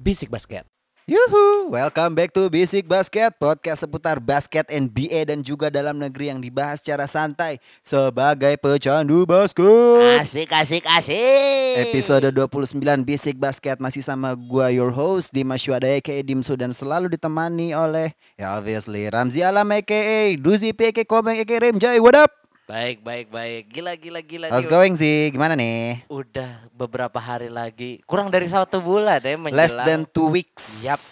Bisik Basket. Yuhu, welcome back to Basic Basket, podcast seputar basket NBA dan juga dalam negeri yang dibahas secara santai sebagai pecandu basket. Asik, asik, asik. Episode 29 Basic Basket masih sama gua your host Dimas Syuada aka Dimsu dan selalu ditemani oleh ya obviously Ramzi Alam aka Duzi P aka Komeng aka Remjai. What up? Baik, baik, baik. Gila, gila, gila. How's nih. going sih? Gimana nih? Udah beberapa hari lagi, kurang dari satu bulan ya menjelang. Less than two weeks. Yap,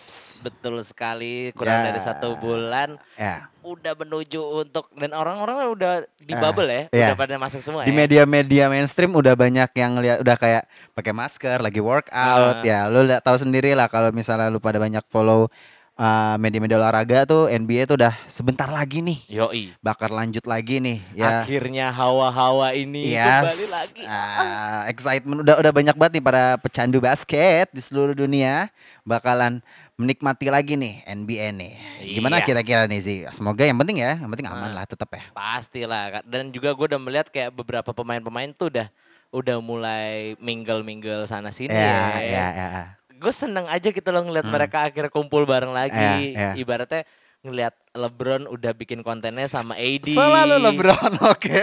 betul sekali. Kurang Ya. dari satu bulan. Ya. Udah menuju untuk dan orang-orang udah di Ah, bubble ya, iya. udah pada masuk semua di ya. media-media mainstream udah banyak yang lihat udah kayak pakai masker lagi workout ya lu lihat- tahu sendiri lah kalau misalnya lu pada banyak follow uh, media-media olahraga tuh NBA tuh udah sebentar lagi nih Yoi. bakal lanjut lagi nih ya Akhirnya hawa-hawa ini kembali Yes, lagi. ah, excitement udah udah banyak banget nih para pecandu basket di seluruh dunia bakalan menikmati lagi nih NBA nih. Gimana Iya. kira-kira nih sih? Semoga yang penting ya, yang penting aman lah tetap ya. Pastilah Kak. dan juga gue udah melihat kayak beberapa pemain-pemain tuh udah udah mulai mingle-mingle sana sini Ya, ya. ya, ya. Gue seneng aja gitu loh Hmm. ngeliat mereka akhirnya kumpul bareng lagi. Ya, ya. Ibaratnya ngeliat LeBron udah bikin kontennya sama AD. Selalu LeBron, oke.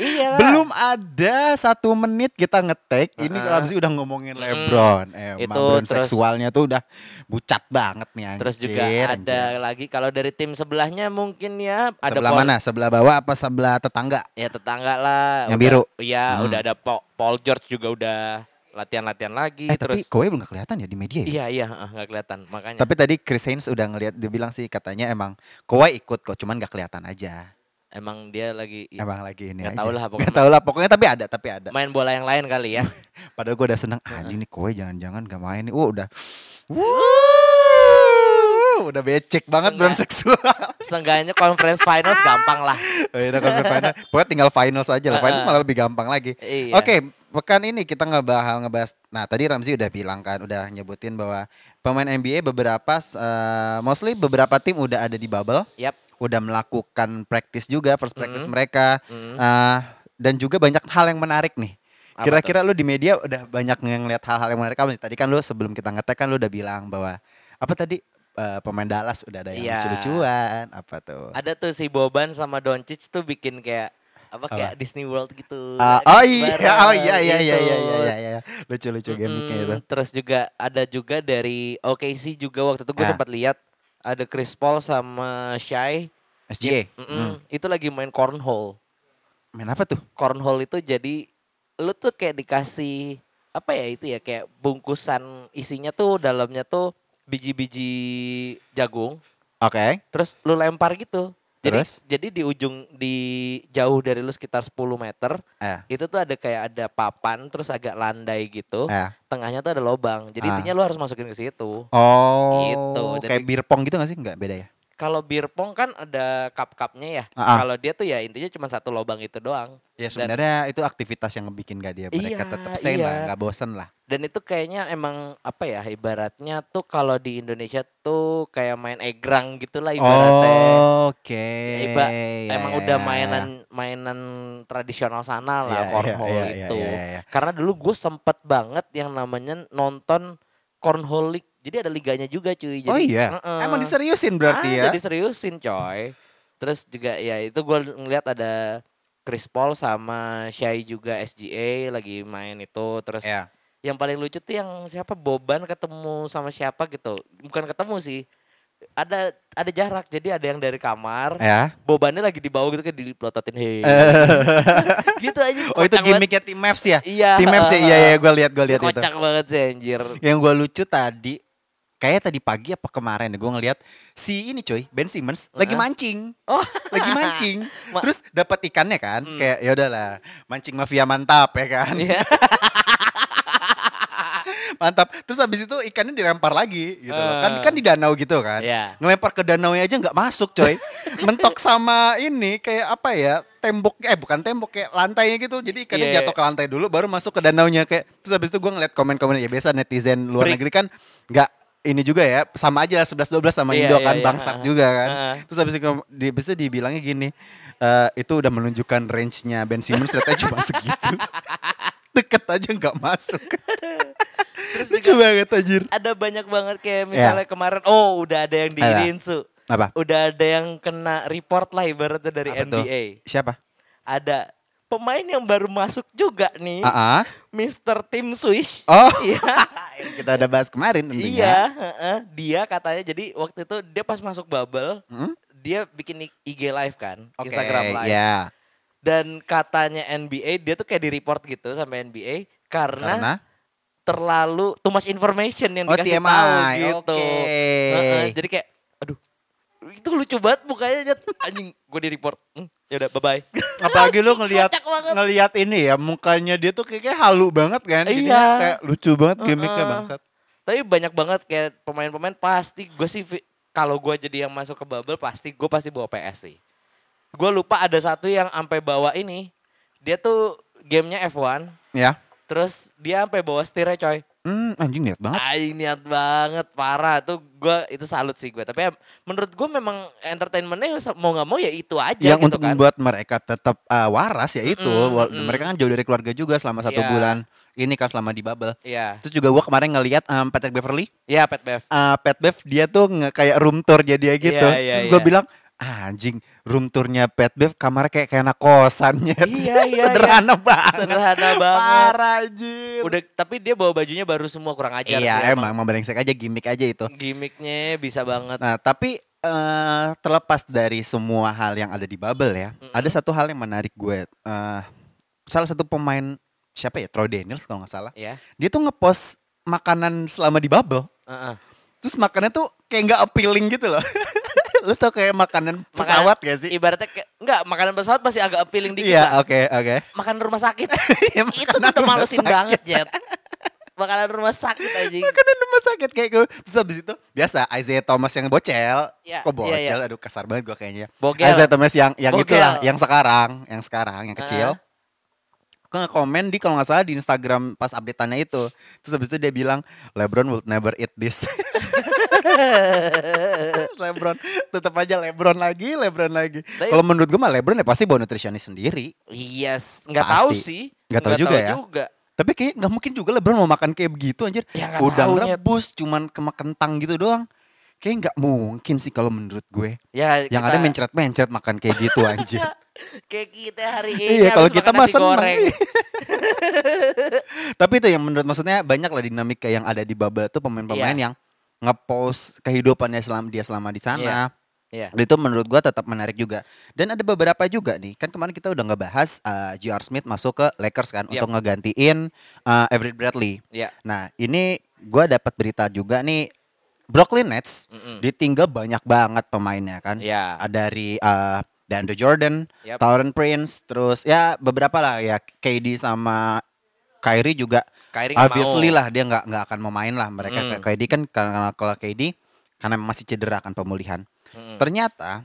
Iya lah. Belum ada satu menit kita ngetek, ini Ramzi udah ngomongin LeBron. Eh, Emang Itu Bron terus- seksualnya tuh udah bucat banget nih anjir. Terus juga ada anjir. lagi kalau dari tim sebelahnya mungkin ya ada sebelah Paul- mana? Sebelah bawah apa sebelah tetangga? ya tetangga Yang lah. udah- biru. Hmm. Iya, udah ada Paul, Paul George juga udah latihan-latihan lagi Eh Iya, terus tapi kowe belum nggak kelihatan ya di media ya? Iya iya heeh, nggak kelihatan makanya. Tapi tadi Chris Haynes udah ngelihat dia bilang sih katanya emang kowe ikut kok cuman nggak kelihatan aja. Emang dia lagi i- Emang lagi ini Iya. aja. Nggak tahu lah pokoknya. Nggak tahu lah pokoknya tapi ada tapi ada. main bola yang lain kali ya. Padahal gue udah seneng anjing nih kowe jangan-jangan gak main nih. Wah udah. Wuh, udah becek banget Sengaja. Bron seksual. Seenggaknya conference finals gampang lah. Oh, iya, conference final. Pokoknya tinggal finals aja lah. Finals malah lebih gampang lagi. Iya. Oke, pekan ini kita ngebahas ngebahas. Nah, tadi Ramzi udah bilang kan, udah nyebutin bahwa pemain NBA beberapa eh, mostly beberapa tim udah ada di bubble, Yap. udah melakukan practice juga first Hmm. practice mereka. Eh, dan juga banyak hal yang menarik nih. Apa Kira-kira lu di media udah banyak yang ngeliat hal-hal yang menarik apa? nih? Tadi kan lu sebelum kita ngetek kan lu udah bilang bahwa apa tadi eh, pemain Dallas udah ada yang Iya. lucu-lucuan apa tuh? Ada tuh si Boban sama Doncic tuh bikin kayak apa Apa? kayak Disney World gitu. Ah, Lagi oh iya, bareng oh iya iya iya gitu. iya iya iya, iya. Lucu lucu gimmicknya Mm, itu. Terus juga ada juga dari OKC juga waktu itu gue Ah. sempat lihat ada Chris Paul sama Shai. SJ. Iya. Hmm. Mm-mm, Itu lagi main cornhole. Main apa tuh? cornhole itu jadi lu tuh kayak dikasih apa ya itu ya kayak bungkusan isinya tuh dalamnya tuh biji-biji jagung Oke. terus lu lempar gitu. Jadi Terus? jadi di ujung di jauh dari lu sekitar 10 meter Eh. itu tuh ada kayak ada papan terus agak landai gitu. Eh. Tengahnya tuh ada lobang. Jadi Ah. intinya lu harus masukin ke situ. Oh. Gitu, dan Kayak di- bir pong gitu gak sih? Enggak beda ya? Kalau beer pong kan ada cup-cupnya ya. Ah, ah. Kalau dia tuh ya intinya cuma satu lobang itu doang. Ya Dan- sebenarnya itu aktivitas yang ngebikin gak dia mereka Iya, tetap sane lah, iya. gak bosen lah. Dan itu kayaknya emang apa ya ibaratnya tuh kalau di Indonesia tuh kayak main egrang gitulah Oh, ibaratnya. Oke. Iba- Iya, emang Ya, udah ya, ya, mainan ya. mainan tradisional Ya, sana lah ya, cornhole ya, ya, itu. ya, ya, ya. Karena dulu gue sempet banget yang namanya nonton cornhole league. Jadi ada liganya juga cuy. Jadi, oh iya. Heeh. Emang diseriusin berarti Ah, ya? Jadi seriusin coy. Terus juga ya itu gue ngeliat ada Chris Paul sama Shai juga SGA lagi main itu. Terus Ya. yang paling lucu tuh yang siapa Boban ketemu sama siapa gitu bukan ketemu sih ada ada jarak jadi ada yang dari kamar Ya. Bobannya lagi di bawah gitu kayak dipelototin hei gitu aja Oh itu kocak banget. gimmicknya tim Mavs ya? iya Tim Mavs ya? Iya iya gue lihat gue lihat itu. kocak banget sih anjir Yang gue lucu tadi kayak tadi pagi apa kemarin gue ngelihat si ini coy Ben Simmons lagi Heeh. mancing. Oh. Lagi mancing. Ma- Hmm. Terus dapat ikannya kan? Kayak ya udahlah, mancing mafia mantap ya kan. Iya. mantap. Terus habis itu ikannya dilempar lagi gitu loh. Kan Eh. kan di danau gitu kan. Iya. Ngelempar ke danau aja nggak masuk coy. Mentok sama ini kayak apa ya? Tembok eh bukan tembok kayak lantainya gitu. Jadi ikannya Iya. jatuh ke lantai dulu baru masuk ke danaunya kayak terus habis itu gue ngeliat komen-komen ya biasa netizen luar Break. negeri kan nggak ini juga ya sama aja 11 12 sama Iya, Indo iya, kan iya. bangsat juga kan. Heeh. Terus habis itu di habis itu dibilangnya gini eh, itu udah menunjukkan range-nya Ben Simmons ternyata cuma segitu. deket aja nggak masuk. Terus Lucu juga banget anjir. ada banyak banget kayak misalnya kemarin oh udah ada yang diinin su. Iya. Apa? Udah ada yang kena report lah ibaratnya dari Apa tuh? NBA. Siapa? Ada pemain yang baru masuk juga nih. Ah, ah. Mr. Tim Swish. Oh, Iya. yang kita udah bahas kemarin Iya, tentunya. heeh. dia katanya jadi waktu itu dia pas masuk bubble, Hmm? dia bikin i- IG live kan, Oke, Instagram live. Ya. Dan katanya NBA dia tuh kayak di-report gitu sama NBA karena, Karena terlalu too much information yang Oh, dikasih TMI, tahu gitu. oke. Heeh, jadi kayak aduh itu lucu banget mukanya Jat. anjing gue di report hmm, yaudah bye bye apalagi lu ngelihat Kocak banget. ngelihat ini ya mukanya dia tuh kayaknya halu banget kan. Jadinya Iya. kayak lucu banget gimmicknya Heeh. bangsat. tapi banyak banget kayak pemain-pemain pasti gue sih fi- kalau gue jadi yang masuk ke bubble pasti gue pasti bawa PS sih gue lupa ada satu yang sampai bawa ini dia tuh gamenya F1 Ya. terus dia sampai bawa setirnya coy Hmm, anjing niat banget. Aing niat banget parah tuh gue itu salut sih gue tapi em- menurut gue memang entertainmentnya se- mau nggak mau ya itu aja yang gitu untuk kan membuat mereka tetap eh, waras ya itu Mm-mm, Wal- mm-mm. mereka kan jauh dari keluarga juga selama satu Iya. bulan ini kan selama di bubble ya terus juga gua kemarin ngelihat em, Patrick Beverly ya Pat Bev eh, Pat Bev dia tuh nge- kayak room tour dia dia gitu Iya, iya, terus gua iya. bilang "Ah, anjing room tournya Pat Bev kamarnya kayak kayak anak kosannya Iya, iya, sederhana banget sederhana banget parah anjir udah tapi dia bawa bajunya baru semua kurang ajar iya sih emang mau berengsek aja gimmick aja itu Hmm. gimmicknya bisa banget Nah, tapi eh, terlepas dari semua hal yang ada di bubble ya, ada satu hal yang menarik gue. Eh, salah satu pemain siapa ya, Troy Daniels kalau nggak salah, ya dia tuh ngepost makanan selama di bubble. Heeh. Terus makannya tuh kayak nggak appealing gitu loh. Lu tau kayak makanan pesawat gak sih? Ibaratnya kayak enggak makanan pesawat masih agak appealing dikit lah. Iya, oke, oke. Makanan rumah sakit. Iya, itu makanan tuh udah rumah malesin sakit. banget, Jet. Makanan rumah sakit aja. Makanan rumah sakit kayak gue. Terus habis itu biasa Isaiah Thomas yang bocel. Iya, Kok bocel? iya, iya. Aduh kasar banget gue kayaknya. Bogel. Isaiah Thomas yang yang Bogel. itulah, yang sekarang, yang sekarang, yang kecil. Ah. Gue komen di kalau nggak salah di Instagram pas updateannya itu. Terus habis itu dia bilang LeBron will never eat this. LeBron tetap aja LeBron lagi, LeBron lagi. Tapi- Kalau menurut gue mah LeBron ya pasti bawa nutrisionis sendiri. Iya, yes. enggak tahu Pasti. sih. Nggak tahu juga ya. Tapi kayak nggak mungkin juga LeBron mau makan kayak begitu anjir. Ya, nggak Udang tahu, Nyet. rebus cuman kema kentang gitu doang. Kayak nggak mungkin sih kalau menurut gue. Ya, Yang kita- ada mencret-mencret makan kayak gitu anjir. kayak kita hari ini Iya, kalau harus kita makan mah nasi seneng. goreng. Tapi itu yang menurut maksudnya banyak lah dinamika yang ada di bubble tuh pemain-pemain Iya. yang ngepost kehidupannya selama dia selama di sana. Iya. Dan Itu menurut gua tetap menarik juga. Dan ada beberapa juga nih. Kan kemarin kita udah ngebahas eh, J.R. Smith masuk ke Lakers kan Yap. untuk ngegantiin eh, Everett Bradley. Iya. Nah, ini gua dapat berita juga nih Brooklyn Nets Mm-mm. ditinggal banyak banget pemainnya kan. Iya. Ada dari eh, DeAndre Jordan, Yap. Tauren Prince, terus ya beberapa lah ya KD sama Kyrie juga. Kyrie nggak obviously mau. lah dia nggak nggak akan mau main lah mereka Mm. Kayak KD kan karena kalau KD karena masih cedera kan pemulihan. Mm-mm. Ternyata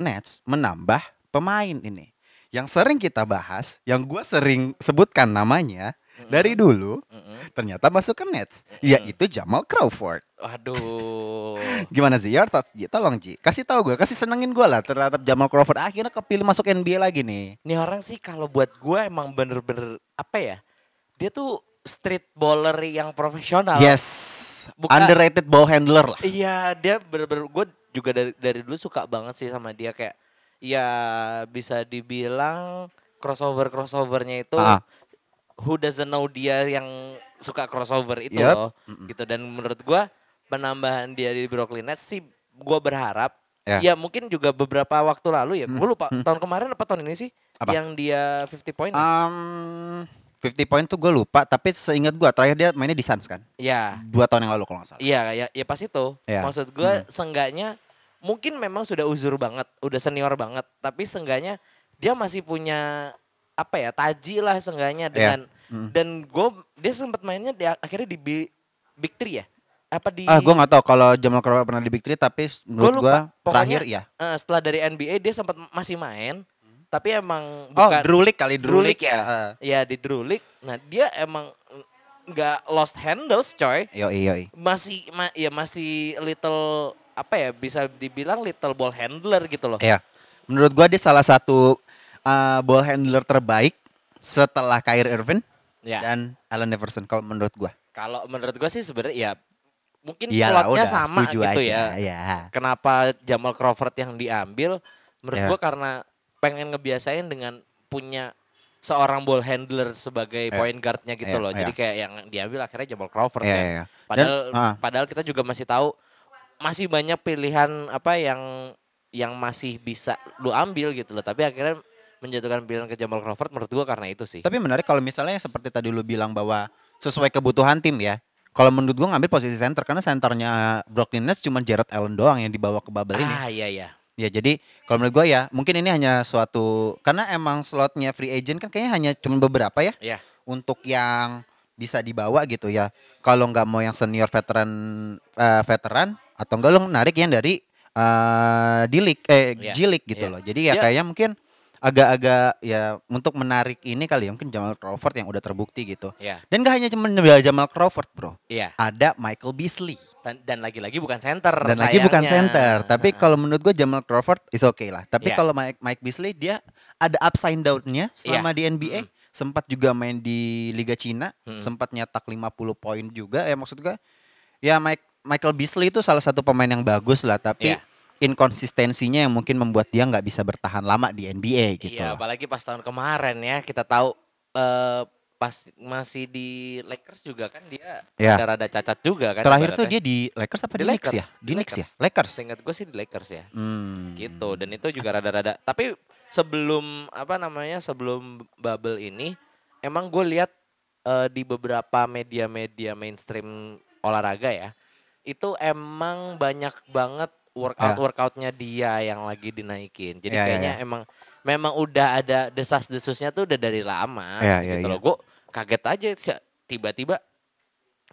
Nets menambah pemain ini yang sering kita bahas, yang gua sering sebutkan namanya Hmm. dari dulu Mm-mm. ternyata masuk ke Nets, Hmm. yaitu Jamal Crawford. Waduh. Gimana sih, Yar? Tas- Ji, Ya, Tolong Ji, kasih tahu gue, kasih senengin gue lah terhadap Jamal Crawford. Akhirnya kepilih masuk NBA lagi nih. Ini orang sih kalau buat gue emang bener-bener apa ya? Dia tuh street baller yang profesional. yes, Buka- underrated ball handler lah. Iya, dia bener-bener gue juga dari dari dulu suka banget sih sama dia kayak ya bisa dibilang crossover crossovernya itu Ah. who doesn't know dia yang suka crossover itu Yep. loh gitu dan menurut gua penambahan dia di Brooklyn Nets sih gua berharap Ya. Mm. ya mungkin juga beberapa waktu lalu ya gue lupa tahun kemarin apa tahun ini sih Apa? Ah. yang dia 50 point Um, 50 point tuh gue lupa, tapi seingat gue terakhir dia mainnya di Suns kan, ya dua tahun yang lalu kalau nggak salah. Iya, ya, ya pas itu. Iya. Maksud gue seenggaknya mungkin memang sudah uzur banget, udah senior banget, tapi seenggaknya dia masih punya apa ya taji lah seenggaknya Iya. dengan Hmm. dan gue dia sempat mainnya di, akhirnya di Bi- Big Three ya apa di Ah, gue nggak tahu kalau Jamal Crawford pernah di Big Three, tapi s- gua menurut gue terakhir Pokoknya, ya. eh, setelah dari NBA dia sempat masih main tapi emang Oh, bukan Drew League kali, Drew Drew League League ya. ya di Drew League nah dia emang nggak lost handles coy Yo yoi. masih ma- ya masih little apa ya bisa dibilang little ball handler gitu loh. Iya. eh, Menurut gua dia salah satu uh, ball handler terbaik setelah Kyrie Irving Ya. dan Allen Iverson kalau menurut gua. Kalau menurut gue sih sebenarnya ya mungkin Iyalah plotnya udah sama setuju gitu aja. ya. Ya. Kenapa Jamal Crawford yang diambil? Menurut Ya. gue karena pengen ngebiasain dengan punya seorang ball handler sebagai Ya. point guardnya gitu Ya, loh. Jadi ya. kayak yang diambil akhirnya Jamal Crawford Ya, ya. ya, ya. Dan, Padahal ah. padahal kita juga masih tahu masih banyak pilihan apa yang yang masih bisa lu ambil gitu loh. Tapi akhirnya menjatuhkan pilihan ke Jamal Crawford menurut gua karena itu sih. Tapi menarik kalau misalnya seperti tadi lu bilang bahwa sesuai kebutuhan tim ya. Kalau menurut gua ngambil posisi center karena senternya Brooklyn Nets cuma Jared Allen doang yang dibawa ke bubble ini. Ah iya iya. Ya jadi kalau menurut gua ya mungkin ini hanya suatu karena emang slotnya free agent kan kayaknya hanya cuma beberapa ya Iya. untuk yang bisa dibawa gitu ya. Kalau nggak mau yang senior veteran eh, veteran atau enggak lo narik yang dari eh D League eh Iya, G League gitu iya. loh. Jadi ya Iya. kayaknya mungkin agak-agak ya untuk menarik ini kali ya mungkin Jamal Crawford yang udah terbukti gitu. Iya. Dan gak hanya cuma Jamal Crawford, Bro. Iya. Ada Michael Beasley. dan, dan lagi-lagi bukan center Dan lagi bukan sayangnya. center, tapi kalau menurut gue Jamal Crawford is okay lah. Tapi Iya. kalau Mike, Mike Beasley dia ada upside down-nya selama di NBA. Sempat juga main di Liga Cina, Mm-mm. sempat nyetak 50 poin juga. Ya maksud gue ya Mike Michael Beasley itu salah satu pemain yang bagus lah, tapi Iya. inkonsistensinya yang mungkin membuat dia nggak bisa bertahan lama di NBA gitu. Iya, loh. apalagi pas tahun kemarin ya kita tahu eh pas masih di Lakers juga kan dia Iya. rada-rada cacat juga kan. Terakhir tuh ibaratnya. dia di Lakers apa di, Di Knicks Lakers. ya? Di Di Knicks ya? Lakers. Lakers. Seingat gue sih di Lakers ya. Hmm. Gitu. Dan itu juga rada-rada tapi sebelum apa namanya sebelum bubble ini emang gue lihat eh, di beberapa media-media mainstream olahraga ya itu emang banyak banget workout Ya. workoutnya dia yang lagi dinaikin jadi Ya, ya, kayaknya emang memang udah ada desas desusnya tuh udah dari lama Ya, ya, gitu ya. loh gue kaget aja sih, tiba-tiba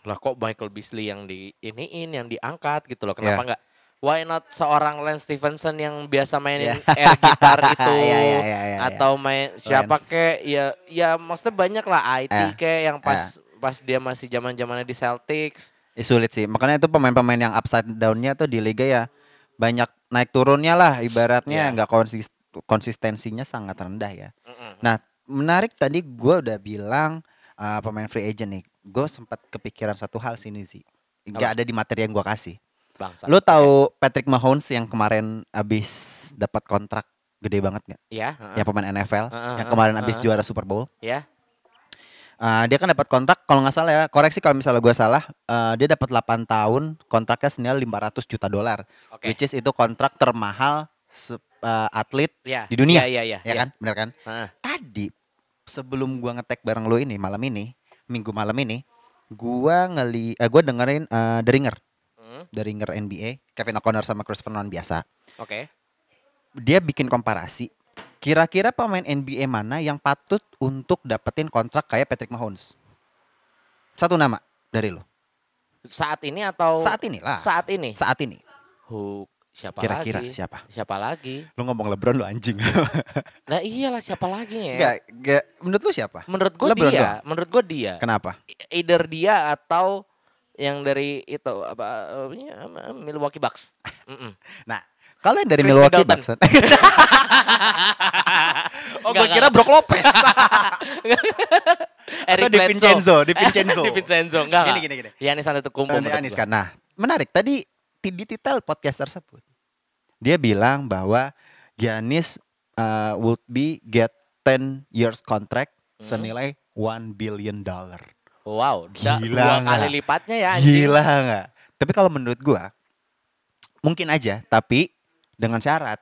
lah kok Michael Beasley yang di iniin yang diangkat gitu loh kenapa Ya. nggak why not seorang Lance Stevenson yang biasa mainin Ya. air gitar itu Ya, ya, ya, ya, ya. atau main siapa Lance. kek ya ya maksudnya banyak lah IT Ya. kek yang pas pas dia masih zaman zamannya di Celtics Eh, sulit sih. Makanya itu pemain-pemain yang upside down-nya tuh di liga ya banyak naik turunnya lah ibaratnya Iya. nggak konsis- konsistensinya sangat rendah ya. Mm-mm. Nah, menarik tadi gua udah bilang uh, pemain free agent nih. Gue sempat kepikiran satu hal sini sih. Gak ada di materi yang gua kasih. bangsa Lo tahu Patrick Mahomes yang kemarin abis dapat kontrak gede banget nggak? ya heeh. Yang pemain NFL Heeh, yang heeh, kemarin heeh, abis heeh. juara Super Bowl. ya Uh, dia kan dapat kontrak kalau nggak salah ya koreksi kalau misalnya gue salah uh, dia dapat 8 tahun kontraknya senilai 500 juta dolar oke which is itu kontrak termahal se- uh, atlet ya di dunia, ya ya ya, ya kan bener kan Heeh. tadi sebelum gua ngetek bareng lo ini malam ini minggu malam ini gua ngeli eh, gua dengerin uh, The Ringer Mm, The Ringer NBA Kevin O'Connor sama Chris Vernon biasa oke dia bikin komparasi kira-kira pemain NBA mana yang patut untuk dapetin kontrak kayak Patrick Mahomes satu nama dari lo saat ini atau saat inilah saat ini saat ini Hu, siapa Kira-kira lagi siapa? siapa lagi lu ngomong LeBron lu anjing lah iyalah siapa lagi ya Enggak, enggak. menurut lu siapa menurut gue LeBron dia doang. menurut gue dia kenapa either dia atau yang dari itu apa eh, Milwaukee Bucks. Mm-mm. Nah, kalau yang dari Chris Milwaukee Bucks. kan? Middleton. oh, gue Enggak, kira Brook Lopez. Eric Di Bledsoe. Vincenzo, di Vincenzo. di Vincenzo, enggak. Gini, enggak. gini, gini. Giannis Eh, Antetokounmpo. menurut Anis gua. kan. Nah, menarik tadi ti- di titel podcast tersebut. Dia bilang bahwa Giannis uh, would be get 10 years contract Hmm. senilai 1 billion dollar. Wow, da- Gila dua enggak? kali lipatnya ya anjing. Gila nggak? Tapi kalau menurut gua mungkin aja, tapi dengan syarat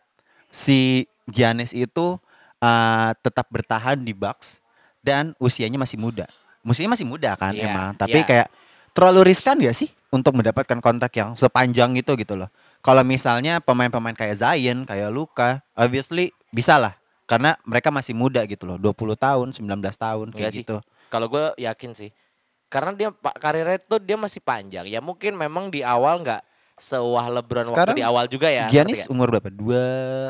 si Giannis itu uh, tetap bertahan di Bucks dan usianya masih muda. Usianya masih muda kan Iya, emang, tapi iya. kayak terlalu riskan gak sih untuk mendapatkan kontrak yang sepanjang itu gitu loh. Kalau misalnya pemain-pemain kayak Zion, kayak Luka, obviously bisa lah karena mereka masih muda gitu loh, 20 tahun, 19 tahun Iya kayak sih. gitu. Kalau gue yakin sih. Karena dia pa- karirnya tuh dia masih panjang. Ya mungkin memang di awal nggak sewah LeBron Sekarang waktu di awal juga ya. Giannis ngerti nggak? umur berapa? Dua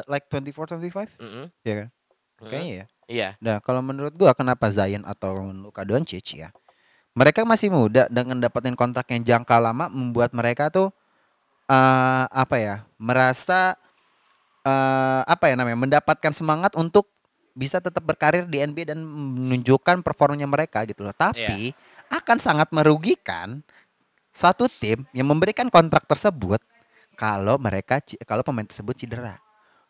like 24 25? Mm-mm, Iya kan? mm-mm. Kayaknya ya. Iya. Nah, kalau menurut gua kenapa Zion atau Luka Doncic ya? Mereka masih muda dengan dapetin kontrak yang jangka lama membuat mereka tuh eh apa ya? Merasa eh apa ya namanya? mendapatkan semangat untuk bisa tetap berkarir di NBA dan menunjukkan performanya mereka gitu loh. Iya. Tapi akan sangat merugikan satu tim yang memberikan kontrak tersebut kalau mereka ci- kalau pemain tersebut cedera.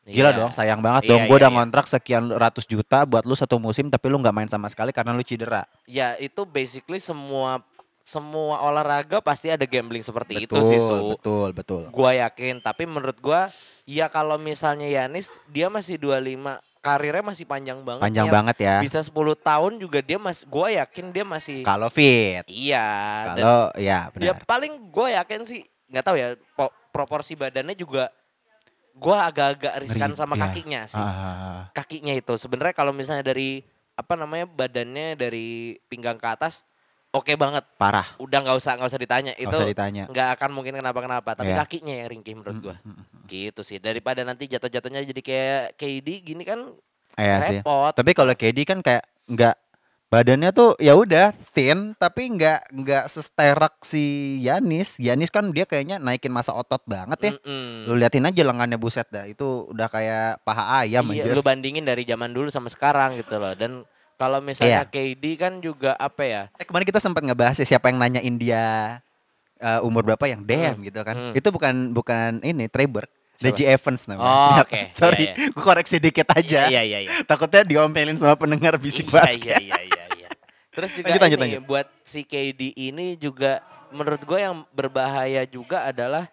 Gila Iya. dong, sayang banget Iya, dong. Gue iya, udah iya. ngontrak sekian ratus juta buat lu satu musim, tapi lu nggak main sama sekali karena lu cedera. Ya itu basically semua semua olahraga pasti ada gambling seperti itu betul, sih Su. betul, betul. Gua yakin, tapi menurut gua ya kalau misalnya Yanis dia masih 25, karirnya masih panjang banget. Panjang ya. banget ya. Bisa 10 tahun juga dia masih gua yakin dia masih Kalau fit, iya. dan kalau ya dia benar. paling gua yakin sih nggak tahu ya po- proporsi badannya juga gua agak-agak riskan Ngeri, sama iya. kakinya sih. Ah, kakinya itu sebenarnya kalau misalnya dari apa namanya badannya dari pinggang ke atas oke banget parah. udah nggak usah nggak usah ditanya itu usah ditanya. nggak akan mungkin kenapa kenapa tapi Iya. mm, kakinya yang ringkih menurut gua gitu sih daripada nanti jatuh jatuhnya jadi kayak KD gini kan Iya sih. repot Tapi kalau KD kan kayak nggak badannya tuh ya udah thin tapi nggak nggak sesterek si Yanis. Yanis kan dia kayaknya naikin masa otot banget ya. Mm-mm. Lu liatin aja lengannya buset dah. Itu udah kayak paha ayam Iya, aja. lu bandingin dari zaman dulu sama sekarang gitu loh dan kalau Iya. misalnya KD kan juga apa ya Eh, kemarin kita sempat ngebahas ya siapa yang nanya India eh, umur berapa yang DM gitu kan. Hmm. Itu bukan bukan ini Trevor, Siapa? Reggie Evans namanya. Oh, Iya, oke. Sorry, Iya, gua koreksi dikit aja. iya iya iya Takutnya diomelin sama pendengar bisik Iya, Ya. basket. Iya iya iya iya. Terus juga Lanjut, lanjut, ini buat si KD ini juga menurut gue yang berbahaya juga adalah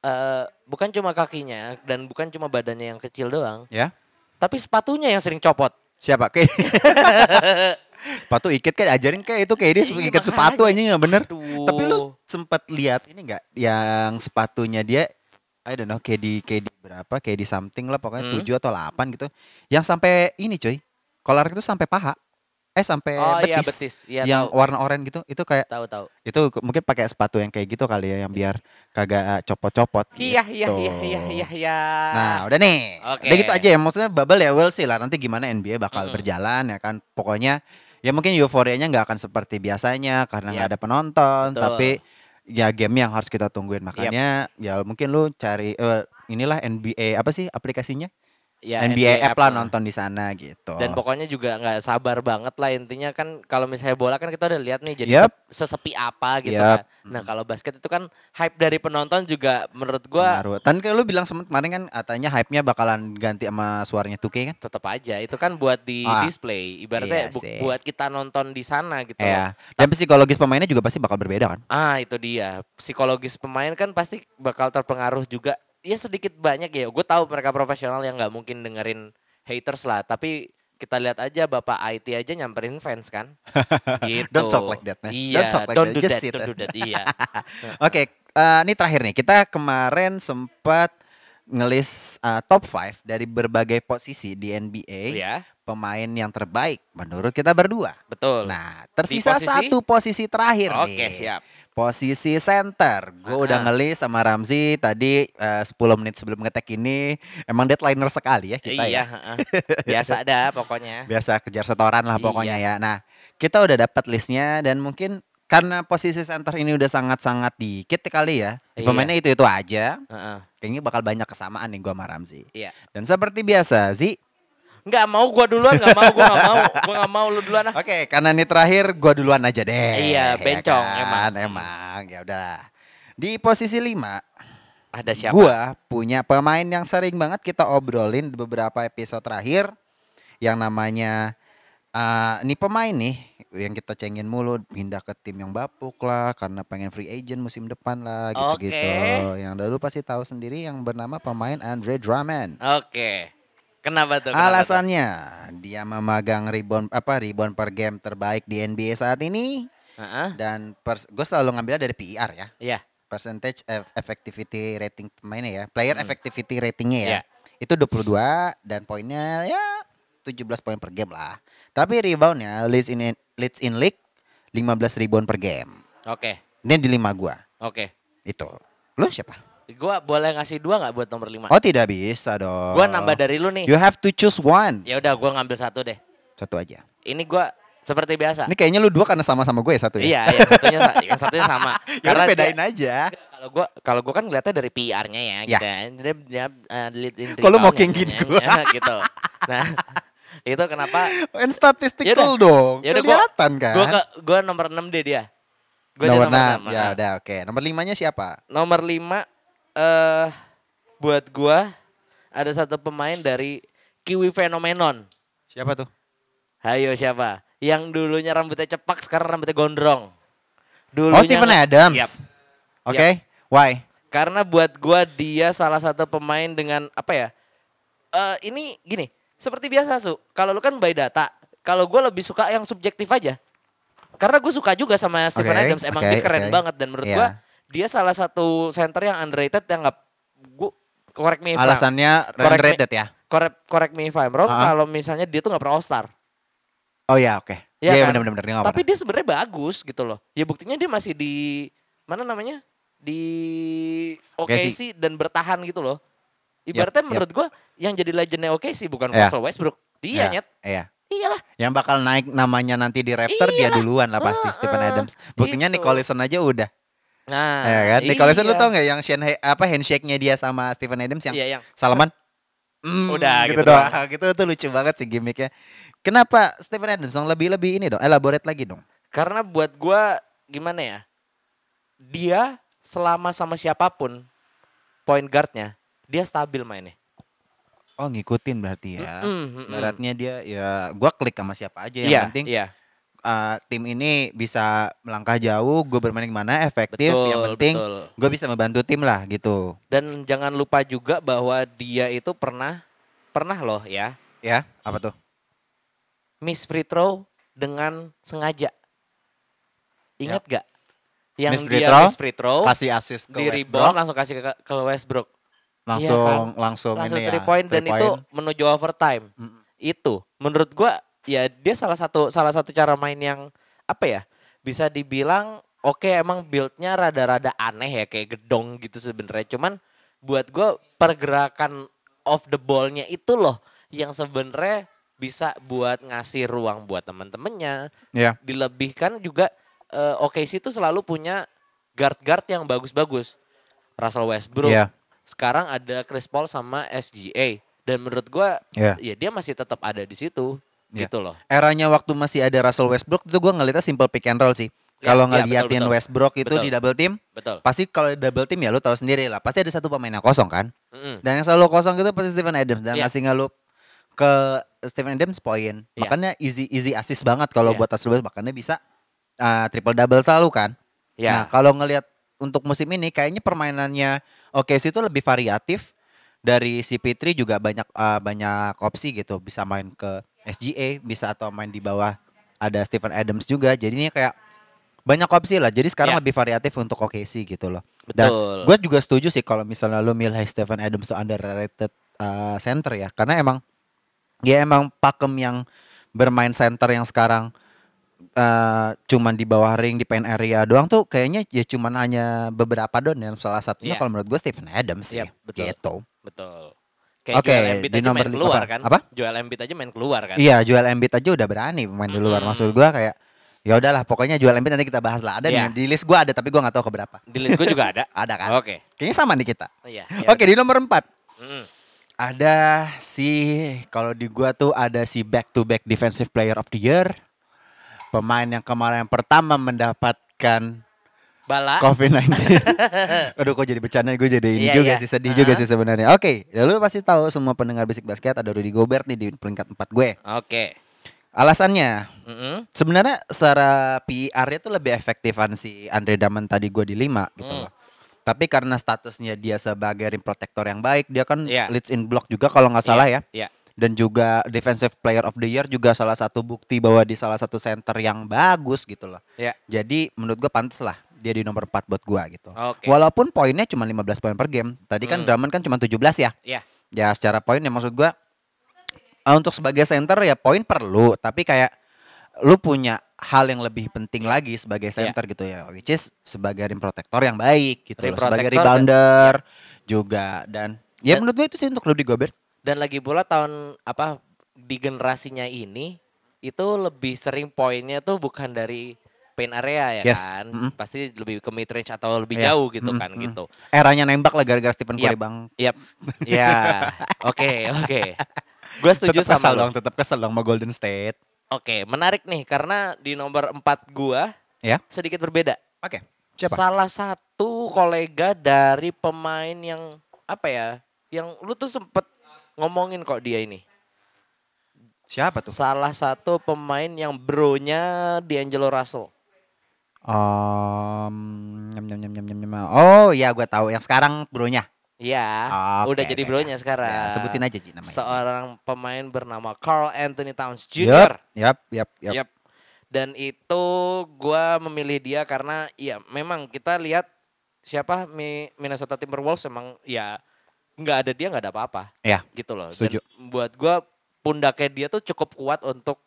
eh bukan cuma kakinya dan bukan cuma badannya yang kecil doang, Ya. tapi sepatunya yang sering copot. Siapa? Kayak Sepatu ikat kan ajarin kayak itu kayak dia suka Iya, ikat sepatu aja makanya. nggak bener. Aduh. Tapi lu sempat lihat ini nggak yang sepatunya dia I don't know kayak di kayak di berapa kayak di something lah pokoknya Hmm. tujuh atau delapan gitu. Yang sampai ini coy. Kolar itu sampai paha. Eh sampai Oh betis. iya betis. Iya yang tahu warna oranye gitu itu kayak tahu tahu. itu ke- mungkin pakai sepatu yang kayak gitu kali ya yang biar kagak eh, copot-copot. Iya iya gitu. iya iya iya iya. Nah, udah nih. Oke. Udah gitu aja ya. Maksudnya bubble ya we'll see lah nanti gimana NBA bakal Mm. berjalan ya kan. Pokoknya ya mungkin euforianya nggak akan seperti biasanya karena nggak Yap. ada penonton, Betul. tapi ya game yang harus kita tungguin makanya ya mungkin lu cari eh, inilah NBA apa sih aplikasinya? Ya, NBA, app lah lah. nonton di sana gitu. Dan pokoknya juga nggak sabar banget lah intinya kan kalau misalnya bola kan kita udah lihat nih jadi Yap. sep- sesepi apa gitu Yap. kan. Nah kalau basket itu kan hype dari penonton juga menurut gua Pengaruh. Dan kayak lu bilang sem- kemarin kan katanya hype-nya bakalan ganti sama suaranya 2K kan? tetap aja itu kan buat di Ah. display Iya ibaratnya bu- sih. buat kita nonton di sana gitu. Iya. loh. Dan psikologis pemainnya juga pasti bakal berbeda kan? Ah itu dia psikologis pemain kan pasti bakal terpengaruh juga. Ya sedikit banyak ya. Gue tahu mereka profesional yang nggak mungkin dengerin haters lah. Tapi kita lihat aja bapak IT aja nyamperin fans kan. gitu. Don't talk like that, man. Iya. Don't talk like don't that. do Just that. sit. Don't do that. Iya. Oke, eh, ini terakhir nih. Kita kemarin sempat ngelis eh, top 5 dari berbagai posisi di NBA Iya. pemain yang terbaik menurut kita berdua. Betul. Nah, tersisa posisi? satu posisi terakhir Oke nih. siap. Posisi center. Gue udah Aha. ngelis sama Ramzi tadi eh, 10 menit sebelum ngetek ini. Emang deadlineer sekali ya kita ya. iya. heeh. Biasa dah pokoknya. Biasa kejar setoran Iya. lah pokoknya ya. Nah, kita udah dapat listnya dan mungkin karena posisi center ini udah sangat-sangat dikit kali ya. Iya. Pemainnya itu-itu aja. Heeh. Kayaknya bakal banyak kesamaan nih gua sama Ramzi. Iya. Dan seperti biasa, Zi. Nggak mau gua duluan, nggak mau gua nggak mau, gua nggak mau lu duluan ah. Oke, karena ini terakhir gua duluan aja deh. Iya, Ya bencong, kan? emang. Emang, ya udahlah. Di posisi 5, Ada siapa? gua punya pemain yang sering banget kita obrolin di beberapa episode terakhir yang namanya eh ini pemain nih yang kita cengin mulu pindah ke tim yang bapuk lah karena pengen free agent musim depan lah gitu-gitu. Oke. Yang dulu pasti tahu sendiri yang bernama pemain Andre Drummond. Oke. Kenapa tuh? kenapa tuh? Alasannya dia memegang rebound apa rebound per game terbaik di NBA saat ini Heeh. dan gue selalu ngambilnya dari PER ya Iya. percentage eff- effectivity rating pemainnya ya player Hmm. effectivity ratingnya ya Iya. itu 22 dan poinnya ya 17 poin per game lah tapi reboundnya leads in leads in league 15 rebound per game Oke. ini di lima gua Oke. itu lu siapa Gua boleh ngasih dua nggak buat nomor lima? oh tidak bisa dong Gua nambah dari lu nih. you have to choose one Ya udah, gua ngambil satu deh. satu aja Ini gua seperti biasa. Ini kayaknya lu dua karena sama-sama gue ya satu ya. Iya, yang satunya sa- yang satunya sama. Ya udah Karena bedain dia- aja. Kalau gua kalau gua kan ngeliatnya dari PR-nya ya, Ya. gitu. ya. Dia, dia, eh, lead in Kok lu mau rebound-nya, gengin ya, gua? ya, gitu. Nah, itu kenapa Ya And statistical dong. Yaudah, gua- Kelihatan kan? Gue ke gue nomor 6 deh dia. Gua dia nomor enam. enam, Ya ah. udah oke. Nomor limanya siapa? Nomor 5 eh buat gua ada satu pemain dari Kiwi Phenomenon. Siapa tuh? Hayo siapa? Yang dulunya rambutnya cepak sekarang rambutnya gondrong. Oh Dulunya Stephen nge- Adams. Yap. Oke. Why? Karena buat gua dia salah satu pemain dengan apa ya? Eh ini gini, seperti biasa Su, kalau lu kan by data, kalau gua lebih suka yang subjektif aja. Karena gue suka juga sama Steven Oke, Adams, emang oke, dia oke. keren banget dan menurut Iya. gua dia salah satu center yang underrated yang nggak gua correct me if I'm- Alasannya Correct me- underrated ya? correct, correct me if I'm wrong, Ha-ha. kalau misalnya dia tuh nggak pernah all star. Oh ya oke. Iya Iya kan? benar-benar dia nggak Tapi dia sebenarnya bagus gitu loh. Ya buktinya dia masih di mana namanya? Di OKC OKC. dan bertahan gitu loh. yap. Ibaratnya menurut gua yang jadi legendnya OKC bukan Iya. Russell Westbrook. pernah. Dia Iya, nyet. Iya. Iyalah. Yang bakal naik namanya nanti di Raptor dia Iyalah. duluan lah pasti Heeh, Stephen Adams. Buktinya Ah, gitu. Nicholson aja udah. Nah, ya kan? Nicholson lu iya. tau nggak yang Shane Hay- apa handshake-nya dia sama Stephen Adams yang Iya, yang Salaman. Mm, Udah, gitu, gitu doang. Gitu tuh lucu banget sih gimmicknya. Kenapa Stephen Adams dong lebih-lebih ini dong? Elaborate lagi dong. karena buat gua gimana ya? Dia selama sama siapapun point guardnya dia stabil mainnya. Oh ngikutin berarti ya. Mm, mm, mm. Baratnya dia ya gua klik sama siapa aja yang Iya, penting iya. uh, tim ini bisa melangkah jauh, gue bermain di mana efektif, yang Betul, penting betul. gue bisa membantu tim lah gitu. Dan jangan lupa juga bahwa dia itu pernah pernah loh ya Ya, apa tuh? miss free throw dengan sengaja. Ingat gak? Yang Ya. Miss free dia throw, miss free throw, Kasih assist ke di rebound Westbrook, langsung kasih ke, ke Westbrook. langsung Iya kan? langsung Langsung ini three ya. point dan three itu point. menuju overtime. Mm-mm. Itu menurut gua ya dia salah satu salah satu cara main yang apa ya? Bisa dibilang oke emang build-nya rada-rada aneh ya kayak gedong gitu sebenarnya. Cuman buat gua pergerakan off the ball-nya itu loh yang sebenarnya bisa buat ngasih ruang buat teman-temannya, Iya. dilebihkan juga eh, OKC itu selalu punya guard-guard yang bagus-bagus. Russell Westbrook. Iya. Sekarang ada Chris Paul sama SGA dan menurut gua Iya. ya dia masih tetap ada di situ Iya. gitu loh. Eranya waktu masih ada Russell Westbrook itu gue ngeliatnya simple pick and roll sih. Ya, Kalau ya, ngeliatin betul, betul. Westbrook itu Betul. di double team, Betul. pasti kalau di double team ya lu tahu sendiri lah, pasti ada satu pemain yang kosong kan. Mm-mm. Dan yang selalu kosong itu pasti Stephen Adams dan Iya. ngasih ngelup ke Stephen Adams poin. Iya. Makanya easy easy assist banget kalau Iya. buat Russell Westbrook makanya bisa ah, triple double selalu kan. Ya. Nah, kalau ngelihat untuk musim ini kayaknya permainannya OKC itu lebih variatif. Dari si Pitri juga banyak eh, banyak opsi gitu, bisa main ke SGA, bisa atau main di bawah ada Stephen Adams juga. Jadinya kayak banyak opsi lah. Jadi sekarang Ya. lebih variatif untuk OKC gitu loh. Betul. Dan gue juga setuju sih kalau misalnya lo milih Stephen Adams tuh underrated eh, center ya, karena emang ya emang pakem yang bermain center yang sekarang eh cuman di bawah ring di pen area doang tuh kayaknya ya cuman hanya beberapa don yang salah satunya Iya. kalau menurut gue Stephen Adams sih Iya, betul. gitu. Betul. Kayak Oke, Joel Embiid di aja nomor main li- keluar apa? kan? Apa? Joel Embiid aja main keluar kan? Hmm. Iya, jual Embiid aja udah berani main di luar maksud gue kayak ya udahlah pokoknya jual Embiid nanti kita bahas lah. Ada Iya. nih, di list gue ada tapi gue nggak tahu keberapa. Di list gue juga ada. Ada kan? Oke. Kayaknya sama nih kita. Iya. Oke, di nomor 4 Mm-mm. ada si kalau di gua tuh ada si back to back defensive player of the year. Pemain yang kemarin pertama mendapatkan Bala. COVID-19. Aduh kok jadi bercanda gue jadi ini Ah. Iya, juga iya. sih sedih juga sih sebenarnya. Oke, lalu pasti tahu semua pendengar Bisik Basket ada Rudy Gobert nih di peringkat 4 gue. Oke. Alasannya Mm-mm. sebenarnya secara PR-nya tuh lebih efektifan si Andre Drummond tadi gue di 5 gitu Hmm. loh. Tapi karena statusnya dia sebagai rim protector yang baik, dia kan Iya. leads in block juga kalau nggak salah ya Iya, Iya. dan juga defensive player of the year juga salah satu bukti bahwa di salah satu center yang bagus gitu loh. Iya. Jadi menurut gue pantas lah dia di nomor 4 buat gua gitu. Oke. Hmm. Walaupun poinnya cuma 15 poin per game. Tadi kan Drummond kan cuma 17 ya. Iya. Ya secara poin ya maksud gua eh, untuk sebagai center ya poin perlu, tapi kayak lu punya hal yang lebih penting lagi sebagai Iya. center gitu ya, which is sebagai rim protector yang baik gitu, Rim loh. sebagai protector dan- Iya. rebounder juga dan ya Dan- menurut gue itu sih untuk Rudy Gobert. Dan lagi pula tahun apa di generasinya ini itu lebih sering poinnya tuh bukan dari paint area ya Yes. kan. Mm-mm. Pasti lebih ke mid range atau lebih Iya. jauh gitu Mm-mm, kan mm-mm. gitu. Iya. Eranya nembak lah gara-gara Stephen Curry Yap. bang. Yap. Ya. Oke, oke. Gue setuju tetap kesel sama lo. dong, tetap kesel dong sama Golden State. Oke, menarik nih karena di nomor 4 gua Ya. sedikit berbeda. Oke. Siapa? Salah satu kolega dari pemain yang apa ya? Yang lu tuh sempet ngomongin kok dia ini. Siapa tuh? Salah satu pemain yang bronya D'Angelo Russell. Um, nyam, nyam, nyam, nyam, nyam, nyam. Oh, iya gua tahu yang sekarang bronya. Ya, Oke, udah jadi oke, bronya sekarang. Ya, sebutin aja Ji namanya. Seorang pemain bernama Carl Anthony Towns Yup, Jr. yup, yup, yup. Yep. Dan itu gua memilih dia karena ya memang kita lihat siapa Mi- Minnesota Timberwolves emang ya nggak ada dia nggak ada apa-apa Ya. gitu loh. Setuju. Dan buat gua pundaknya dia tuh cukup kuat untuk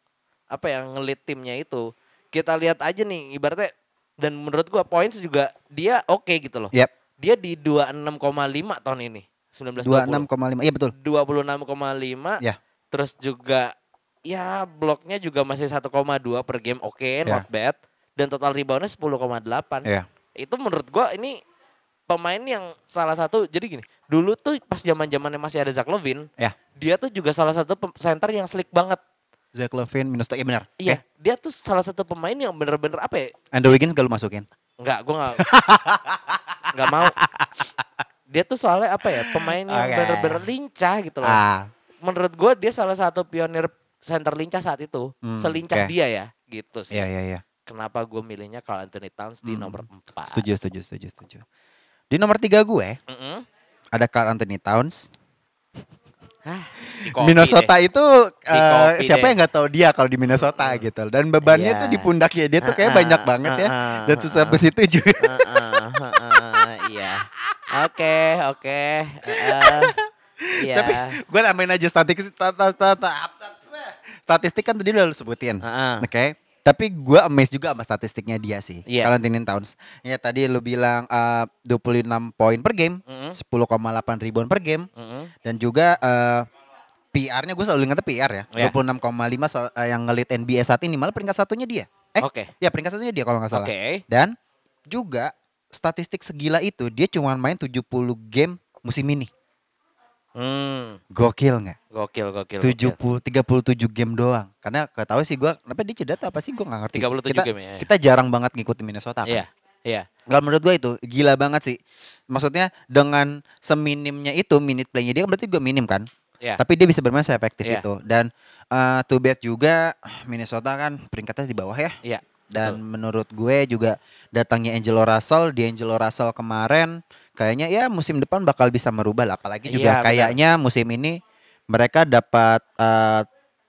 apa yang ngelit timnya itu. Kita lihat aja nih ibaratnya dan menurut gua points juga dia oke gitu loh. Yep. Dia di 26,5 tahun ini. 19 26,5. Iya betul. 26,5. Ya. Terus juga ya bloknya juga masih 1,2 per game oke, Ya. not bad. Dan total reboundnya 10,8. Iya. Itu menurut gua ini pemain yang salah satu jadi gini, dulu tuh pas zaman-zamannya masih ada Zach Levine, Ya. dia tuh juga salah satu pem- center yang slick banget. Zach Levine minus Iya benar. Iya, dia tuh salah satu pemain yang bener-bener apa ya? Andrew Wiggins gak lu masukin? Enggak, gua enggak enggak mau. Dia tuh soalnya apa ya? Pemain yang Oke. bener-bener lincah gitu loh. Ah, menurut gue dia salah satu pionir center lincah saat itu. Hmm, Selincah oke. dia ya, gitu sih. iya iya iya. Kenapa gue milihnya Carl Anthony Towns di Hmm. nomor 4. Setuju, setuju, setuju, setuju. Di nomor tiga gue Mm-mm. ada Carl Anthony Towns. Di kopi Minnesota deh. itu Di eh, kopi siapa deh. Hmm. yang nggak tahu dia kalau di Minnesota gitu. Dan bebannya Iya. tuh di pundaknya dia tuh kayak Ah, ah, banyak banget ya. ah, ah, Dan terus ah, habis itu juga Heeh, heeh, Iya. Oke, oke. heeh. Iya. Tapi gue tambahin aja statistik tata, tata, statistik kan tadi udah lu sebutin. Heeh. Oke. Tapi gue amazed juga sama statistiknya dia sih. Iya. Kalau Anthony Towns. Ya tadi lu bilang eh, 26 poin per game, Mm-mm. 10,8 rebound per game Mm-mm. dan juga eh, PR-nya gue selalu ingatnya PR ya. Iya. 26,5 so- eh, yang ngelit NBA saat ini malah peringkat satunya dia. Eh, Oke. ya peringkat satunya dia kalau nggak salah. Oke. Dan juga statistik segila itu dia cuma main 70 game musim ini. Hmm, Gokil nggak? gokil, gokil. tujuh gokil. puluh tiga puluh tujuh game doang karena gak tahu sih gue kenapa dia cedera atau apa sih gue gak ngerti 37 kita, game ya, ya. kita jarang banget ngikutin Minnesota kan Iya. Iya. kalau menurut gue itu gila banget sih maksudnya dengan seminimnya itu minute playnya dia kan berarti juga minim kan Iya. tapi dia bisa bermain seefektif Iya. itu dan eh too bad juga Minnesota kan peringkatnya di bawah ya Iya. dan menurut gue juga datangnya Angelo Russell di Angelo Russell kemarin kayaknya ya musim depan bakal bisa merubah lah apalagi Iya, juga benar. kayaknya musim ini mereka dapat eh,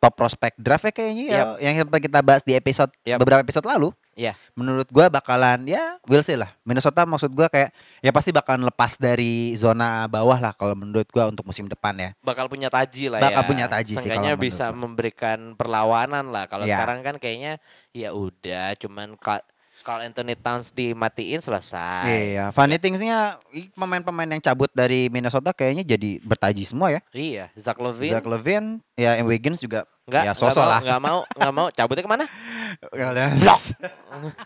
top prospect draft ya kayaknya ya, yang sempat kita bahas di episode Yap. beberapa episode lalu Iya. menurut gue bakalan ya we'll see lah Minnesota maksud gue kayak ya pasti bakalan lepas dari zona bawah lah kalau menurut gue untuk musim depan ya bakal punya taji lah ya. Bakal punya taji sih Seenggaknya kalau menurut bisa gua. memberikan perlawanan lah. Kalau Ya. sekarang kan kayaknya ya udah cuman Ka- Carl Anthony Towns dimatiin selesai. iya funny thingsnya i- pemain-pemain yang cabut dari Minnesota kayaknya jadi bertaji semua ya Iya, Zach Levine Zach Levine, ya and Wiggins juga nggak ya nggak sosok mau- lah. nggak mau nggak mau cabutnya kemana? Blok.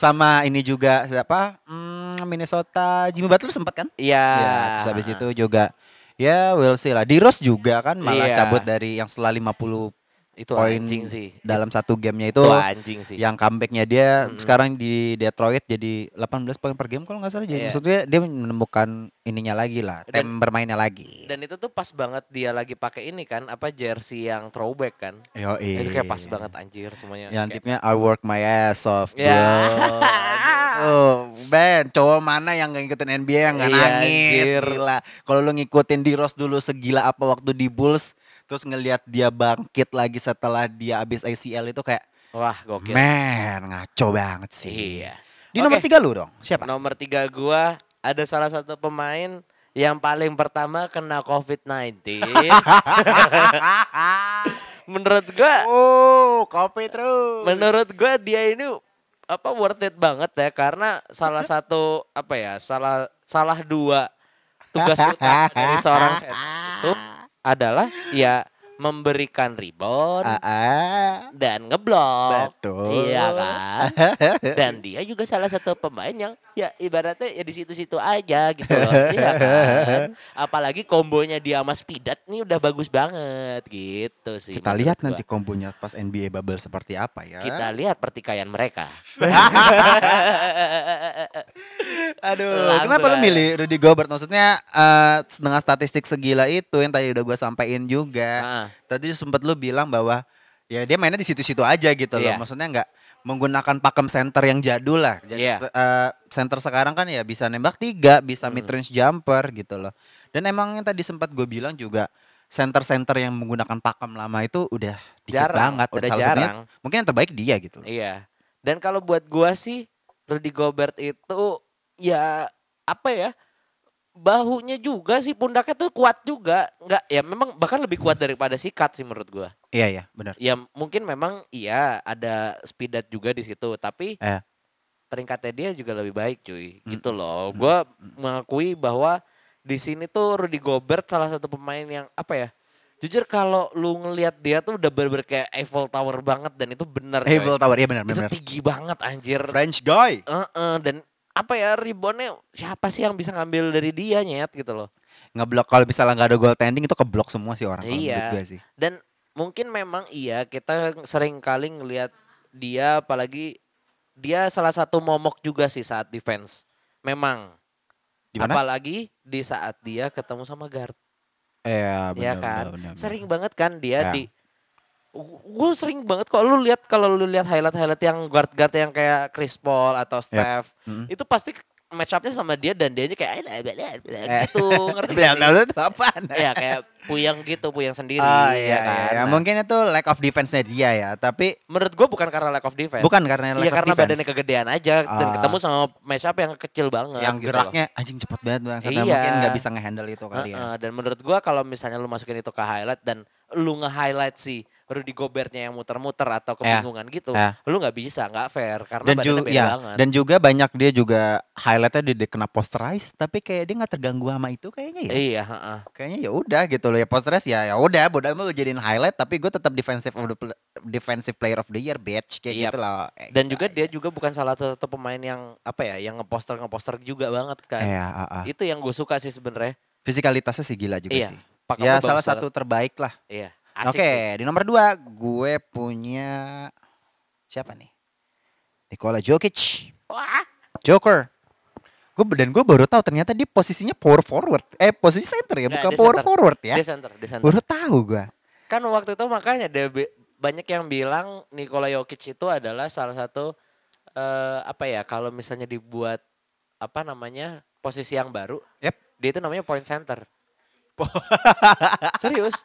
Sama ini juga siapa? Hmm, Minnesota Jimmy Butler sempat kan? Iya. Ya, terus habis itu juga ya we'll see lah. Di Rose juga kan malah Iya. cabut dari yang setelah 50 itu poin ya. anjing sih. dalam satu gamenya Itu itu anjing sih. yang comebacknya dia Mm-mm. sekarang di Detroit jadi 18 poin per game kalau nggak salah jadi Iya. maksudnya dia menemukan ininya lagi lah tem Dan- bermainnya lagi Dan itu tuh pas banget dia lagi pakai ini kan apa jersey yang throwback kan. Yoi. Itu kayak pas banget anjir semuanya. Iya. Yang Kayak- tipnya I work my ass off bro. Ya. Oh, Ben, cowok mana yang gak ngikutin NBA yang gak Iya, nangis? anjir. Gila. Kalau lu ngikutin di Rose dulu segila apa waktu di Bulls, terus ngelihat dia bangkit lagi setelah dia abis ACL itu kayak, Wah, gokil. man ngaco banget sih. Iya. Di nomor Oke. tiga lu dong, siapa? Nomor tiga gua ada salah satu pemain yang paling pertama kena COVID-19. menurut gua, oh, kopi terus. menurut gua dia ini apa worth it banget ya karena salah satu apa ya salah salah dua tugas utama dari seorang center itu adalah ya memberikan rebound Ah, ah. dan ngeblok. Betul. Iya kan? Dan dia juga salah satu pemain yang ya ibaratnya ya di situ-situ aja gitu loh. Iya kan? Apalagi kombonya dia sama Spidat nih udah bagus banget gitu sih. Kita menurut lihat gua. nanti kombonya pas NBA bubble seperti apa ya. Kita lihat pertikaian mereka. Aduh, Langsung kenapa lu aja. milih Rudy Gobert? Maksudnya eh, dengan statistik segila itu yang tadi udah gua sampein juga. Ah. Tadi sempet lu bilang bahwa ya dia mainnya di situ-situ aja gitu Iya. loh. Maksudnya nggak menggunakan pakem center yang jadul lah. Jadi Iya. Hmm. eh, center sekarang kan ya bisa nembak tiga, bisa mid range jumper gitu loh. Dan emang yang tadi sempat gue bilang juga center-center yang menggunakan pakem lama itu udah dikit Jarang, banget. Dan udah salah satunya jarang. mungkin yang terbaik dia gitu. loh. Iya. Dan kalau buat gua sih Rudy Gobert itu ya apa ya? Bahunya juga sih pundaknya tuh kuat juga. Enggak ya memang bahkan lebih kuat daripada sikat sih menurut gua. Iya iya benar. Ya mungkin memang iya ada speedat juga di situ tapi Eh. peringkatnya dia juga lebih baik cuy. Gitu loh. Gua mengakui bahwa di sini tuh Rudy Gobert salah satu pemain yang apa ya? Jujur kalau lu ngelihat dia tuh udah bener-bener kayak Eiffel Tower banget dan itu benar Eiffel Tower iya benar itu benar. benar. tinggi banget anjir. French guy. Heeh, dan apa ya reboundnya siapa sih yang bisa ngambil dari dia nyet gitu loh. ngeblok kalau misalnya nggak ada goaltending itu keblok semua sih orang kalau Iya. menurut gue sih. Dan mungkin memang iya kita sering kali ngelihat dia apalagi dia salah satu momok juga sih saat defense. Memang. Di mana? Apalagi di saat dia ketemu sama guard. Iya benar. ya kan. Sering banget kan Ya. dia di gue sering banget kok lu lihat kalau lu lihat highlight-highlight yang guard-guard yang kayak Chris Paul atau Steph, Mm. itu pasti match up-nya sama dia dan dia kayak "Eh, blah, blah, blah," gitu, ngerti Benar gak sih? benar itu apaan? Ya kayak puyang gitu, puyang sendiri Ah, ya iya, kan. iya. Nah, mungkin itu lack of defense-nya dia ya, tapi menurut gue bukan karena lack of defense. bukan karena lack Iya of karena defense. badannya kegedean aja dan Ah. ketemu sama match up yang kecil banget yang gitu loh. geraknya anjing cepet banget bang, Satu yang Iya. mungkin nggak bisa ngehandle itu kali ya. Heeh, dan menurut gua kalau misalnya lu masukin itu ke highlight dan lu nge-highlight si Rudy Gobertnya yang muter-muter atau kebingungan gitu, eh. lu nggak bisa, nggak fair karena Dan, badannya juga beda ya, banget. dan juga banyak dia juga highlightnya dia, dia kena posterize, tapi kayak dia nggak terganggu sama itu kayaknya ya. Iya, heeh. Kayaknya ya udah gitu loh ya posterize ya ya udah bodo amat lu jadiin highlight tapi gue tetap defensive of the pl- defensive player of the year bitch kayak Iya. gitu loh. Eh, Dan gitu juga aja. dia juga bukan salah satu pemain yang apa ya, yang ngeposter ngeposter juga banget kan. Iya, ah, ah. Itu yang gue suka sih sebenarnya. Fisikalitasnya sih gila juga Iya. sih. Pakemnya Ya bagus salah banget. satu terbaik lah. Iya. Oke, Asik sih. di nomor dua gue punya siapa nih? Nikola Jokic, Wah. Joker. Gue dan gue baru tahu ternyata dia posisinya power forward. Eh posisi center ya, Nggak, bukan dia power center. forward ya. Dia center, dia center. Baru tahu gue. Kan waktu itu makanya ada be- banyak yang bilang Nikola Jokic itu adalah salah satu eh apa ya kalau misalnya dibuat apa namanya posisi yang baru, Yep. dia itu namanya point center. Serius,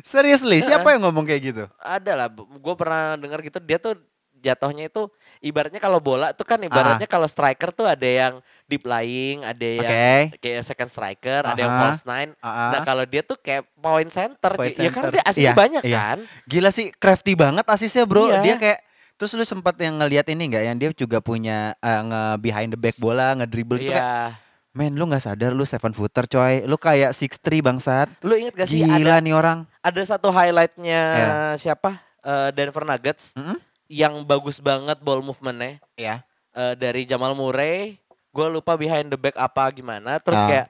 Seriously, siapa yang ngomong kayak gitu? ada lah. Gue pernah dengar gitu dia tuh jatuhnya itu ibaratnya kalau bola tuh kan Ah. ibaratnya kalau striker tuh ada yang deep lying, ada yang Oke. kayak second striker, ada yang Aha. false nine. Ah, Nah ah. kalau dia tuh kayak point center, Point ya kan center. dia asisnya Iya, banyak iya. kan. Gila sih, crafty banget asisnya bro. Iya. Dia kayak terus lu sempat yang ngelihat ini nggak yang dia juga punya eh, nge behind the back bola, ngedribble gitu Iya. kayak Men lu gak sadar lu seven footer coy Lu kayak six three bangsat Lu inget gak sih Gila ada nih orang ada satu highlightnya Iya. siapa Eh, Denver Nuggets Mm-mm. yang bagus banget ball movementnya Iya Eh, dari Jamal Murray. Gue lupa behind the back apa gimana. Terus Ah. kayak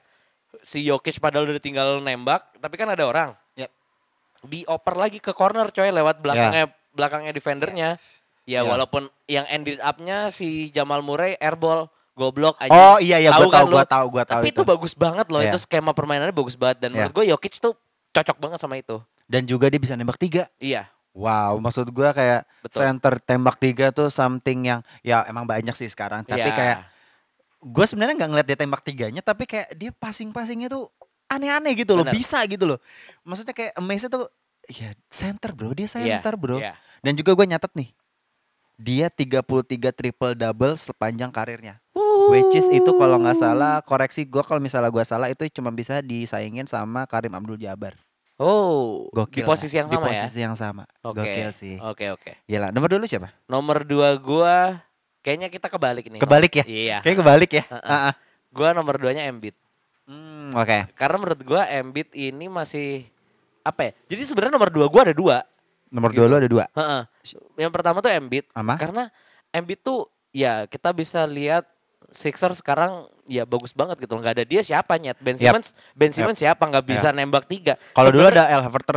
si Jokic padahal udah tinggal nembak, tapi kan ada orang. Yep. Dioper lagi ke corner coy lewat belakangnya Ya. belakangnya defendernya. Ya Iya. walaupun yang ended up-nya si Jamal Murray airball goblok aja. Oh iya iya gue tau kan gue lu? tau gue tau Tapi itu itu. bagus banget loh, Iya. itu skema permainannya bagus banget dan Iya. menurut gue Jokic tuh cocok banget sama itu. Dan juga dia bisa nembak tiga Iya. Wow maksud gue kayak Betul. Center tembak tiga tuh something yang Ya emang banyak sih sekarang Tapi Iya. kayak Gue sebenarnya nggak ngeliat dia tembak tiganya Tapi kayak dia passing-passingnya tuh Aneh-aneh gitu loh Bener. Bisa gitu loh Maksudnya kayak amaze tuh Ya center bro Dia Iya, center bro iya. Dan juga gue nyatet nih Dia 33 triple double sepanjang karirnya Which is itu kalau nggak salah koreksi gue kalau misalnya gue salah itu cuma bisa disaingin sama Karim Abdul Jabbar. Oh, Gokil. di posisi yang kan? sama Di ya. posisi yang sama. Oke. Gokil sih. Oke, oke. Gila, nomor dulu siapa? Nomor dua gua kayaknya kita kebalik nih. Kebalik ya? Iya. Kayak kebalik ya. Heeh. Ah, ah. Gua nomor duanya Embiid. Hmm, oke. Karena menurut gua Embiid ini masih apa ya? Jadi sebenarnya nomor dua gua ada dua. Nomor Gitu. dua lu ada dua. Heeh. Yang pertama tuh Embiid Sama? karena Embiid tuh ya kita bisa lihat Sixers sekarang ya bagus banget gitu loh. Nggak ada dia siapa nyet. Ben Yap. Simmons, Ben Simmons siapa nggak bisa nembak tiga. Kalau dulu Sebenarnya- ada Al Horford,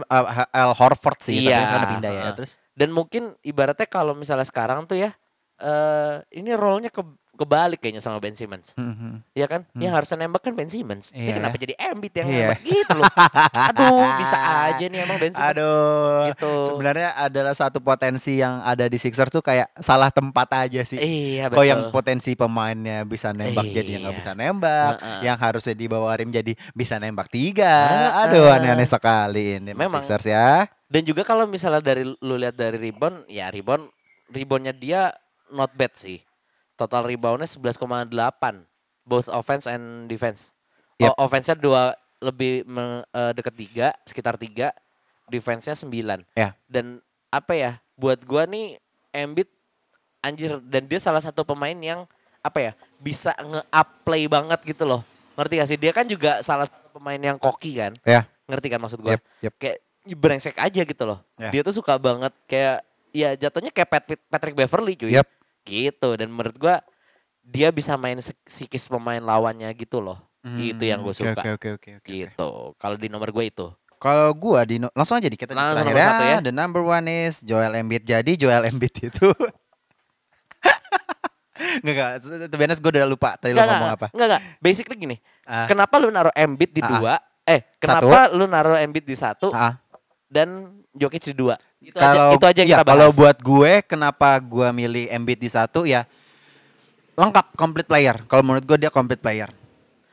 Al Horford sih, tapi Iya. sekarang udah pindah ya. Heeh. Terus dan mungkin ibaratnya kalau misalnya sekarang tuh ya eh ini role-nya ke kebalik kayaknya sama Ben Simmons. Iya kan? Yang harusnya nembak kan Ben Simmons. Ini Hmm, Iya. kenapa jadi Embiid yang Iya. nembak gitu loh. Aduh, bisa aja nih emang Ben Simmons. Aduh, Eh, Gitu. sebenarnya adalah satu potensi yang ada di Sixers tuh kayak salah tempat aja sih. Iya, Kok betul. yang potensi pemainnya bisa nembak jadi yang nggak Iya. bisa nembak, Heeh. yang harusnya di bawah rim jadi bisa nembak tiga. Heeh. Aduh, aneh-aneh sekali ini Memang. Memang. Sixers ya. Dan juga kalau misalnya dari lu lihat dari rebound, ya rebound reboundnya dia not bad sih. Total reboundnya 11,8 both offense and defense. Yep. O- offense-nya dua lebih me- eh, deket tiga, sekitar tiga, defense-nya 9. Ya. Dan apa ya, buat gua nih Embiid anjir dan dia salah satu pemain yang apa ya, bisa nge-up play banget gitu loh. Ngerti gak sih? Dia kan juga salah satu pemain yang koki kan Ya. ngerti kan maksud gue Yep, yep. kayak brengsek aja gitu loh Ya. dia tuh suka banget kayak ya jatuhnya kayak Pat- Pat- Patrick Beverly cuy Yep. gitu dan menurut gue dia bisa main sek- psikis pemain lawannya gitu loh itu yang gue Hmm, oke, suka Oke, oke, oke, oke. gitu kalau di nomor gue itu Kalau gua di no- langsung aja di kita di Langsung terakhir nomor satu ya. The number one is Joel Embiid. Jadi Joel Embiid itu Nggak, nggak. To be honest, gue udah lupa tadi lo Nggak, ngomong nggak, apa. nggak nggak basically gini Ah. kenapa lu naruh Embiid di Ah, ah. dua eh kenapa lu naruh Embiid di satu Ah, dan Jokic di dua itu kalau aja itu aja yang iya, kita bahas kalau buat gue kenapa gue milih Embiid di satu ya lengkap complete player. Kalau menurut gue dia complete player.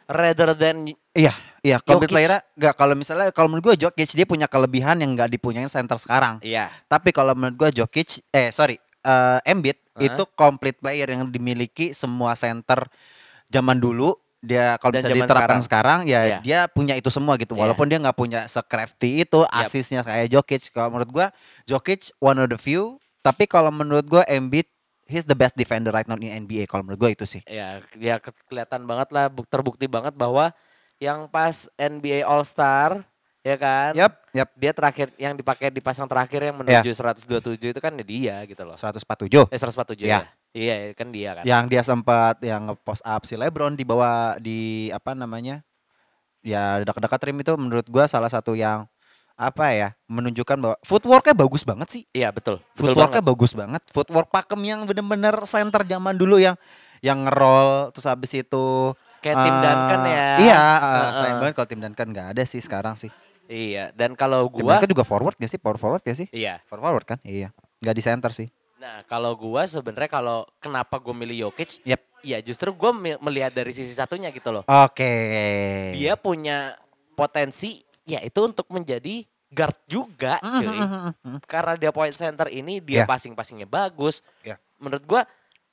rather than Iya, iya complete Jokic. player enggak kalau misalnya kalau menurut gue Jokic dia punya kelebihan yang nggak dipunyain center sekarang. iya Tapi kalau menurut gue Jokic eh sorry eh, Embiid Heeh. itu complete player yang dimiliki semua center zaman dulu dia kalau Dan bisa zaman diterapkan sekarang, Iya. ya dia punya itu semua gitu Iya. walaupun dia nggak punya se-crafty itu asisnya kayak Jokic kalau menurut gue Jokic one of the few tapi kalau menurut gue Embiid he's the best defender right now in NBA kalau menurut gue itu sih ya ya ke- kelihatan banget lah buk- terbukti banget bahwa yang pas NBA All Star ya kan yap yap dia terakhir yang dipakai di pasang terakhir yang Ya. menuju 127 itu kan ya dia gitu loh 147 eh 147 Ya. ya iya kan dia kan yang dia sempat yang nge-post up si LeBron di bawah di apa namanya ya dekat-dekat rim itu menurut gua salah satu yang apa ya menunjukkan bahwa footworknya bagus banget sih iya betul betul footworknya banget bagus banget footwork pakem yang bener-bener center zaman dulu yang yang ngerol terus habis itu Kayak Tim eh, Duncan ya. iya eh, Heeh. sayang banget kalau tim Duncan nggak ada sih sekarang sih iya dan kalau tim gua Duncan juga forward gak sih power forward gak sih iya power forward kan iya nggak di center sih nah kalau gua sebenarnya kalau kenapa gua milih Jokic yep ya justru gua mi- melihat dari sisi satunya gitu loh oke dia punya potensi ya itu untuk menjadi guard juga Mm, cuy. mm, mm, mm. karena dia point center ini dia Yeah. passing-passingnya bagus. Yeah. Menurut gua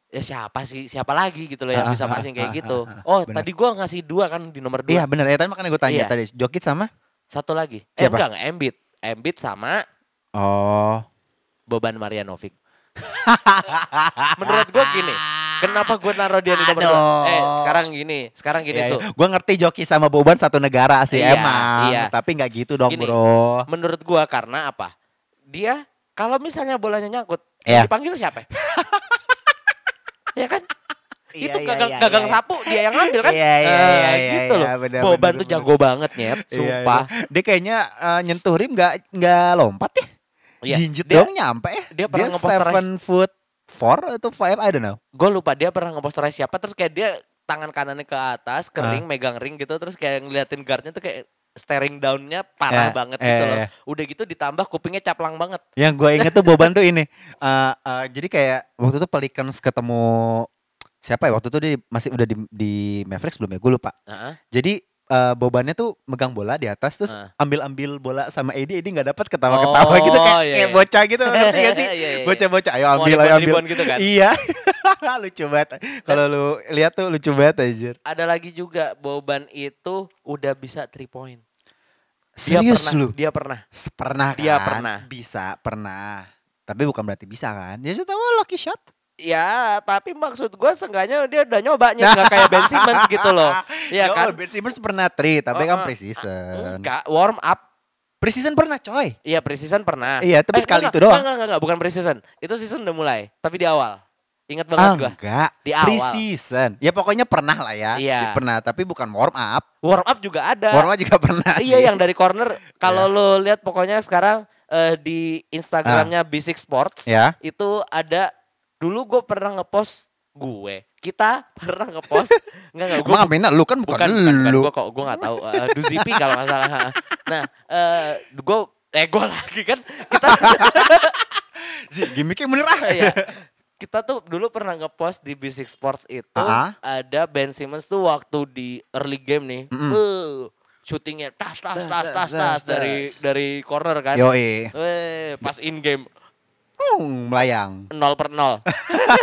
ya siapa sih siapa lagi gitu loh Ah, yang bisa ah, passing kayak ah, gitu. ah, ah, Oh, bener. tadi gua ngasih dua kan di nomor Iya dua. benar ya tadi makanya gue tanya Iya. tadi Jokic sama Satu lagi. Eh Siapa? enggak enggak Embiid. Embiid sama Oh Boban Marjanovic. Menurut gua gini, kenapa gua naruh dia di nomor dua? Aduh. Eh, sekarang gini, sekarang gini, Gitu, Su. Gue iya, ngerti Jokic sama Boban satu negara sih Iya, emang iya. Tapi nggak gitu dong Gini. Iya, bro Menurut gua karena apa? Dia kalau misalnya bolanya nyangkut, Iya. dipanggil siapa? ya kan? Iya, itu iya, gagang, iya, gagang iya. sapu dia yang ngambil kan? Iya, iya, Eh, iya, iya, gitu iya, loh. benar, Boban benar, tuh benar. jago banget nyet, sumpah. Iya, iya. Dia kayaknya eh, nyentuh rim nggak nggak lompat ya Iya, Jinjit dia- dong nyampe ya dia pernah Dia ngeposterais- seven foot four atau five I don't know Gue lupa dia pernah ngeposterai siapa terus kayak dia tangan kanannya ke atas, Ah. kering, megang ring gitu terus kayak ngeliatin guardnya tuh kayak staring downnya Eh, parah banget eh, gitu loh. eh. Udah gitu ditambah kupingnya caplang banget. Yang gue inget tuh Boban tuh ini. Eh, eh, jadi kayak waktu itu Pelicans ketemu siapa ya? Waktu itu dia masih udah di, di Mavericks belum ya? Gue lupa. Heeh. Jadi eh, Bobannya tuh megang bola di atas terus Ah. ambil-ambil bola sama Edi, Edi nggak dapat ketawa-ketawa gitu Oh, kayak, iya, kayak iya. bocah gitu ngerti gak sih? Iya, iya, iya. Bocah-bocah ayo Mau ambil ayo ambil. ribuan-ribuan gitu kan? Iya. lucu banget. Kalau lu lihat tuh lucu banget anjir. Ada lagi juga Boban itu udah bisa three point. Dia Serius pernah, lu? Dia pernah. Pernah kan? Dia pernah. Bisa, pernah. Tapi bukan berarti bisa kan? Ya tahu lucky shot. Ya, tapi maksud gue seenggaknya dia udah nyoba nyet nggak kayak Ben Simmons gitu loh. Iya Yo, kan? Ya Ben Simmons pernah tri, tapi Oh, kan oh, pre-season. Enggak, warm up Pre-season pernah coy. Iya pre-season pernah. Eh, Iya, tapi sekali enggak, itu doang. Enggak, enggak, enggak, bukan pre-season. Itu season udah mulai, tapi di awal. Ingat banget gua. Ah, enggak. Di awal. Pre-season. Ya pokoknya pernah lah ya. Iya. Di- Pernah, tapi bukan warm up. Warm up juga ada. Warm up juga pernah sih. Iya Iya. yang dari corner kalau lo lihat pokoknya sekarang eh, di Ah. Instagramnya Basic Sports Ya. itu ada dulu gue pernah ngepost gue kita pernah ngepost nggak nggak gue Emang Amina, lu kan bukan, bukan bukan, bukan lu. gue kok gue nggak tahu Eh, Duzipi kalau nggak salah nah eh gue eh gue lagi kan kita Zi, gimmicknya bener ah. ya kita tuh dulu pernah ngepost di Basic Sports itu Aha. ada Ben Simmons tuh waktu di early game nih, Mm-mm. eh, syutingnya tas tas Tas, tas tas, tas, tas tas dari tas. dari corner kan, Yoi. Weh, pas in game Hmm, melayang. nol per nol,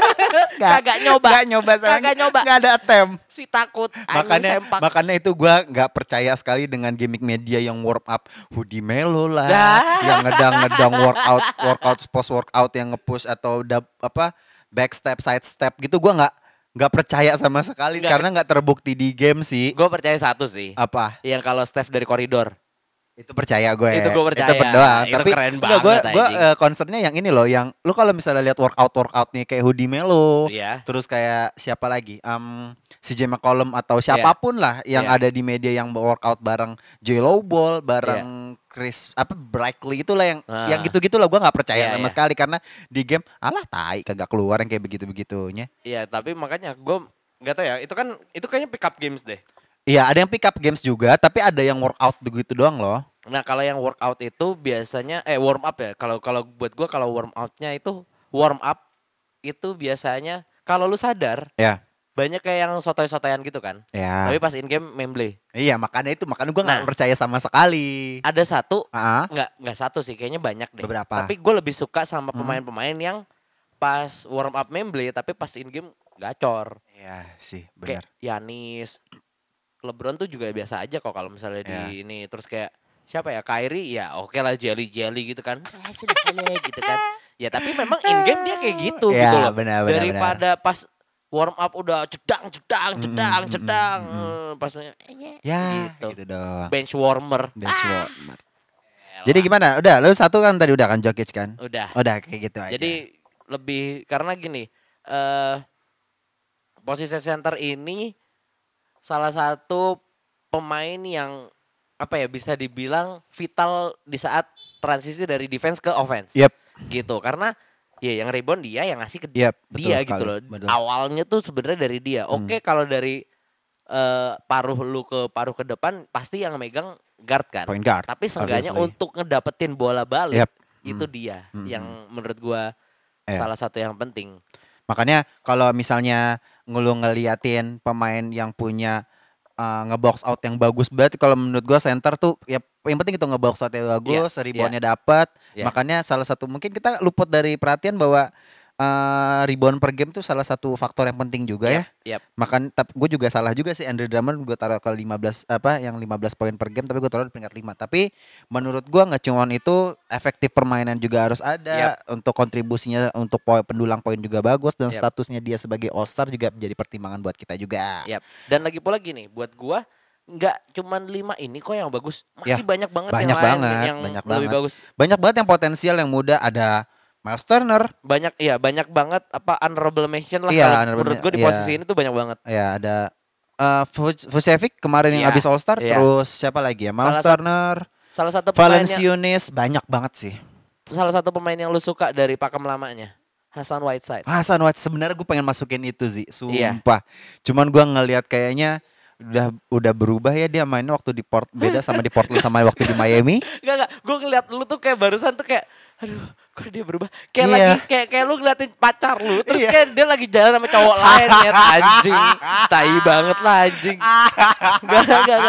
kagak nyoba, Gak nyoba sayang. kagak nyoba, Gak ada attempt. si takut, anjing Makanya, sempak. makanya itu gua nggak percaya sekali dengan gimmick media yang warm up hoodie melo lah, Dah. yang ngedang ngedang workout workout post workout yang ngepush atau dab, apa back step side step gitu gua nggak nggak percaya sama sekali Nggak. karena nggak terbukti di game sih gue percaya satu sih, apa yang kalau Steph dari koridor, itu percaya gue Itu gua percaya. itu berdoa Itu tapi keren enggak, gua banget, gua anjing. eh, concernnya yang ini loh yang lu kalau misalnya lihat workout workoutnya kayak hoodie melo Iya. terus kayak siapa lagi um, CJ McCollum atau siapapun lah yang Iya. ada di media yang workout bareng J Ball bareng Chris apa Brickley itulah yang Iya. Ah. yang gitu-gitu lah gua nggak percaya Iya, sama iya. sekali karena di game alah tai kagak keluar yang kayak begitu-begitunya Iya tapi makanya gue nggak tahu ya, itu kan itu kayaknya pick up games deh. iya ada yang pick up games juga tapi ada yang workout begitu doang loh Nah kalau yang workout itu biasanya eh warm up ya. Kalau kalau buat gua kalau warm outnya itu warm up itu biasanya kalau lu sadar ya banyak kayak yang sotoy-sotoyan gitu kan. ya Tapi pas in game memble iya makanya itu makanya gua nggak Nah. percaya sama sekali ada satu Ah, nggak nggak satu sih kayaknya banyak deh. Beberapa. Tapi gue lebih suka sama pemain-pemain yang pas warm up memble tapi pas in game gacor. iya sih, Kayak Yanis, LeBron tuh juga biasa aja kok kalau misalnya Ya. di ini terus kayak siapa ya Kyrie ya oke lah jelly jelly gitu kan Ah, sudah jelly gitu kan ya tapi memang in game dia kayak gitu Ya, gitu loh benar, benar, daripada pas warm up udah jedang jedang Mm, jedang mm, jedang mm, mm, Eh, pas main, Ya, Gitu. gitu, doang. bench warmer Bench Ah, warmer. Jadi gimana? Udah, lu satu kan tadi udah kan Jokic kan? udah Udah kayak gitu aja. Jadi lebih karena gini, eh posisi center ini salah satu pemain yang apa ya bisa dibilang vital di saat transisi dari defense ke offense. Yep. Gitu. Karena ya yang rebound dia yang ngasih ke Yep, betul dia sekali. gitu loh. Betul. Hmm. Awalnya tuh sebenarnya dari dia. Oke, kalau dari eh paruh lu ke paruh ke depan pasti yang megang guard kan. Point guard, Tapi seenggaknya obviously. untuk ngedapetin bola balik Yep. itu dia yang menurut gua Hmm. Iya. salah satu yang penting. Makanya kalau misalnya ngelu ngeliatin pemain yang punya uh, ngebox out yang bagus banget kalau menurut gua center tuh ya yang penting itu ngebox out yang bagus, reboundnya dapat. Iya. Makanya salah satu mungkin kita luput dari perhatian bahwa uh, rebound per game tuh salah satu faktor yang penting juga ya. Yap. Makan tapi gue juga salah juga sih Andre Drummond gue taruh ke 15 apa yang 15 poin per game tapi gue taruh di peringkat 5. Tapi menurut gua nggak cuman itu efektif permainan juga harus ada untuk kontribusinya untuk poin pendulang poin juga bagus dan Yap. statusnya dia sebagai all star juga menjadi pertimbangan buat kita juga. Yap. Dan lagi pula gini, buat gua nggak cuman lima ini kok yang bagus, masih banyak banget Ya. Iya. banyak yang lain banget, yang banyak lebih banget. bagus. Banyak banget yang potensial yang muda ada Miles Turner, Banyak iya, banyak banget apa honorable mention lah Iya, kalau honorable menurut gua di men- iya. posisi ini tuh banyak banget. ya ada eh Vuc- Vucevic kemarin yang Iya, habis all star iya. terus siapa lagi ya Miles Salah satu Turner, Salah satu pemain yang, Valanciunas banyak banget sih. salah satu pemain yang lu suka dari pakem lamanya, Hasan Whiteside. Hasan White Ah, sebenarnya gue pengen masukin itu sih, Iya. sumpah. Cuman gua ngelihat kayaknya udah udah berubah ya dia mainnya waktu di Port beda sama di Portland sama waktu di Miami. Enggak enggak, gue ngeliat lu tuh kayak barusan tuh kayak aduh kok dia berubah kayak Iya. lagi kayak kayak lu ngeliatin pacar lu terus Iya. kayak dia lagi jalan sama cowok lain ya anjing tai banget lah anjing enggak enggak enggak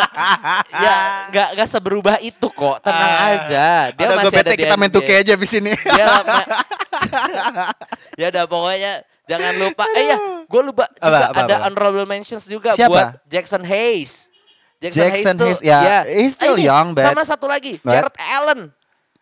ya enggak enggak seberubah itu kok tenang Ah. aja dia Udah, masih gua ada bete di kita main NBA. 2K aja di sini. dia ma- ya udah pokoknya jangan lupa eh ya gue lupa juga Apa, apa, ada apa? honorable mentions juga Siapa? buat Jackson Hayes Jackson tuh- Hayes, ya, he's still ini, young, but- sama satu lagi but- Jared Allen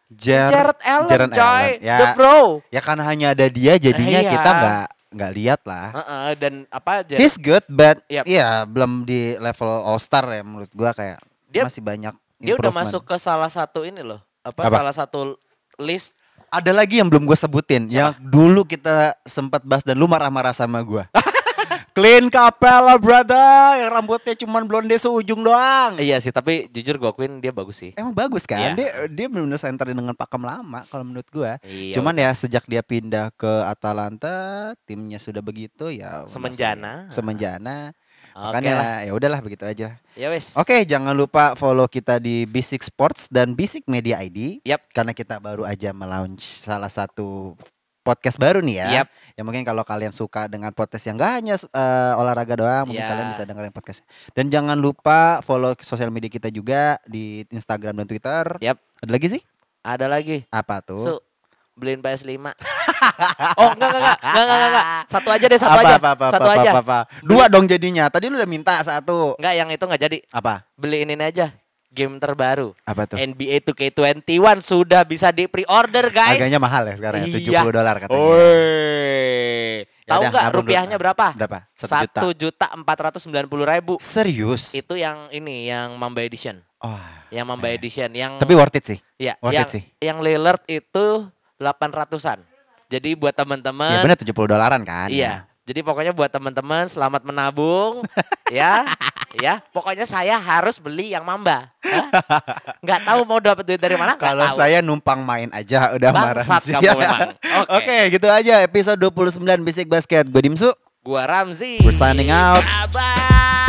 Jar- Jared Allen, Jared coy. Allen, Ya, The Bro. ya kan hanya ada dia jadinya Iya. kita nggak nggak lihat lah. Heeh, dan apa aja? He's good but Yep. ya belum di level all star ya menurut gua kayak Dia- masih banyak dia udah improvement. masuk ke salah satu ini loh. Apa, Apa? salah satu list Ada lagi yang belum gue sebutin yang dulu kita sempat bahas dan lu marah-marah sama gue. Clean Capella brother, yang rambutnya cuman blonde seujung doang. Iya sih, tapi jujur gue akuin dia bagus sih. Emang bagus kan? Iya. Dia dia benar-benar centerin dengan pakem lama kalau menurut gue. Iya. Cuman ya sejak dia pindah ke Atalanta, timnya sudah begitu ya. masih- Semenjana. Semenjana. oke Makanya lah. ya udahlah begitu aja. Ya wes. Oke, jangan lupa follow kita di Basic Sports dan Basic Media ID. Yap. Karena kita baru aja melaunch salah satu podcast baru nih ya. Yap. Ya mungkin kalau kalian suka dengan podcast yang gak hanya eh, olahraga doang, mungkin Ya. kalian bisa dengerin podcast. Dan jangan lupa follow sosial media kita juga di Instagram dan Twitter. Yap. Ada lagi sih? Ada lagi. Apa tuh? Su beliin PS5. oh, enggak enggak enggak. Enggak enggak enggak. Satu aja deh, eh, satu apa, aja. apa, apa, satu apa, aja. apa, apa. Dua dong jadinya. Tadi lu udah minta satu. Enggak, yang itu enggak jadi. Apa? Beliin ini aja. Game terbaru. Apa tuh? NBA 2K21 sudah bisa di pre-order, guys. Iya. Harganya mahal ya sekarang ya, 70 dolar katanya. Woi. Ya Tahu udah, nggak nggak perlu. rupiahnya berapa? Berapa? Satu juta. Satu juta empat ratus sembilan puluh ribu. Serius? Itu yang ini yang Mamba Edition, Wah. yang Mamba Edition, Eh. yang Tapi worth it sih. ya, worth yang it sih. yang Lillard itu delapan ratusan. Jadi buat Ya teman-teman, benar 70 dolaran kan. eh, iya. Jadi pokoknya buat teman-teman selamat menabung, ya, ya. Pokoknya saya harus beli yang Mamba. Hah? Nggak tahu mau dapat duit dari mana? nggak Kalau tahu. saya numpang main aja udah marah Bangsat sih. kamu memang. Oke. Oke, gitu aja episode 29 Bisik Basket. Gue Dimsu. Gua Ramzi. We're signing out. Bye.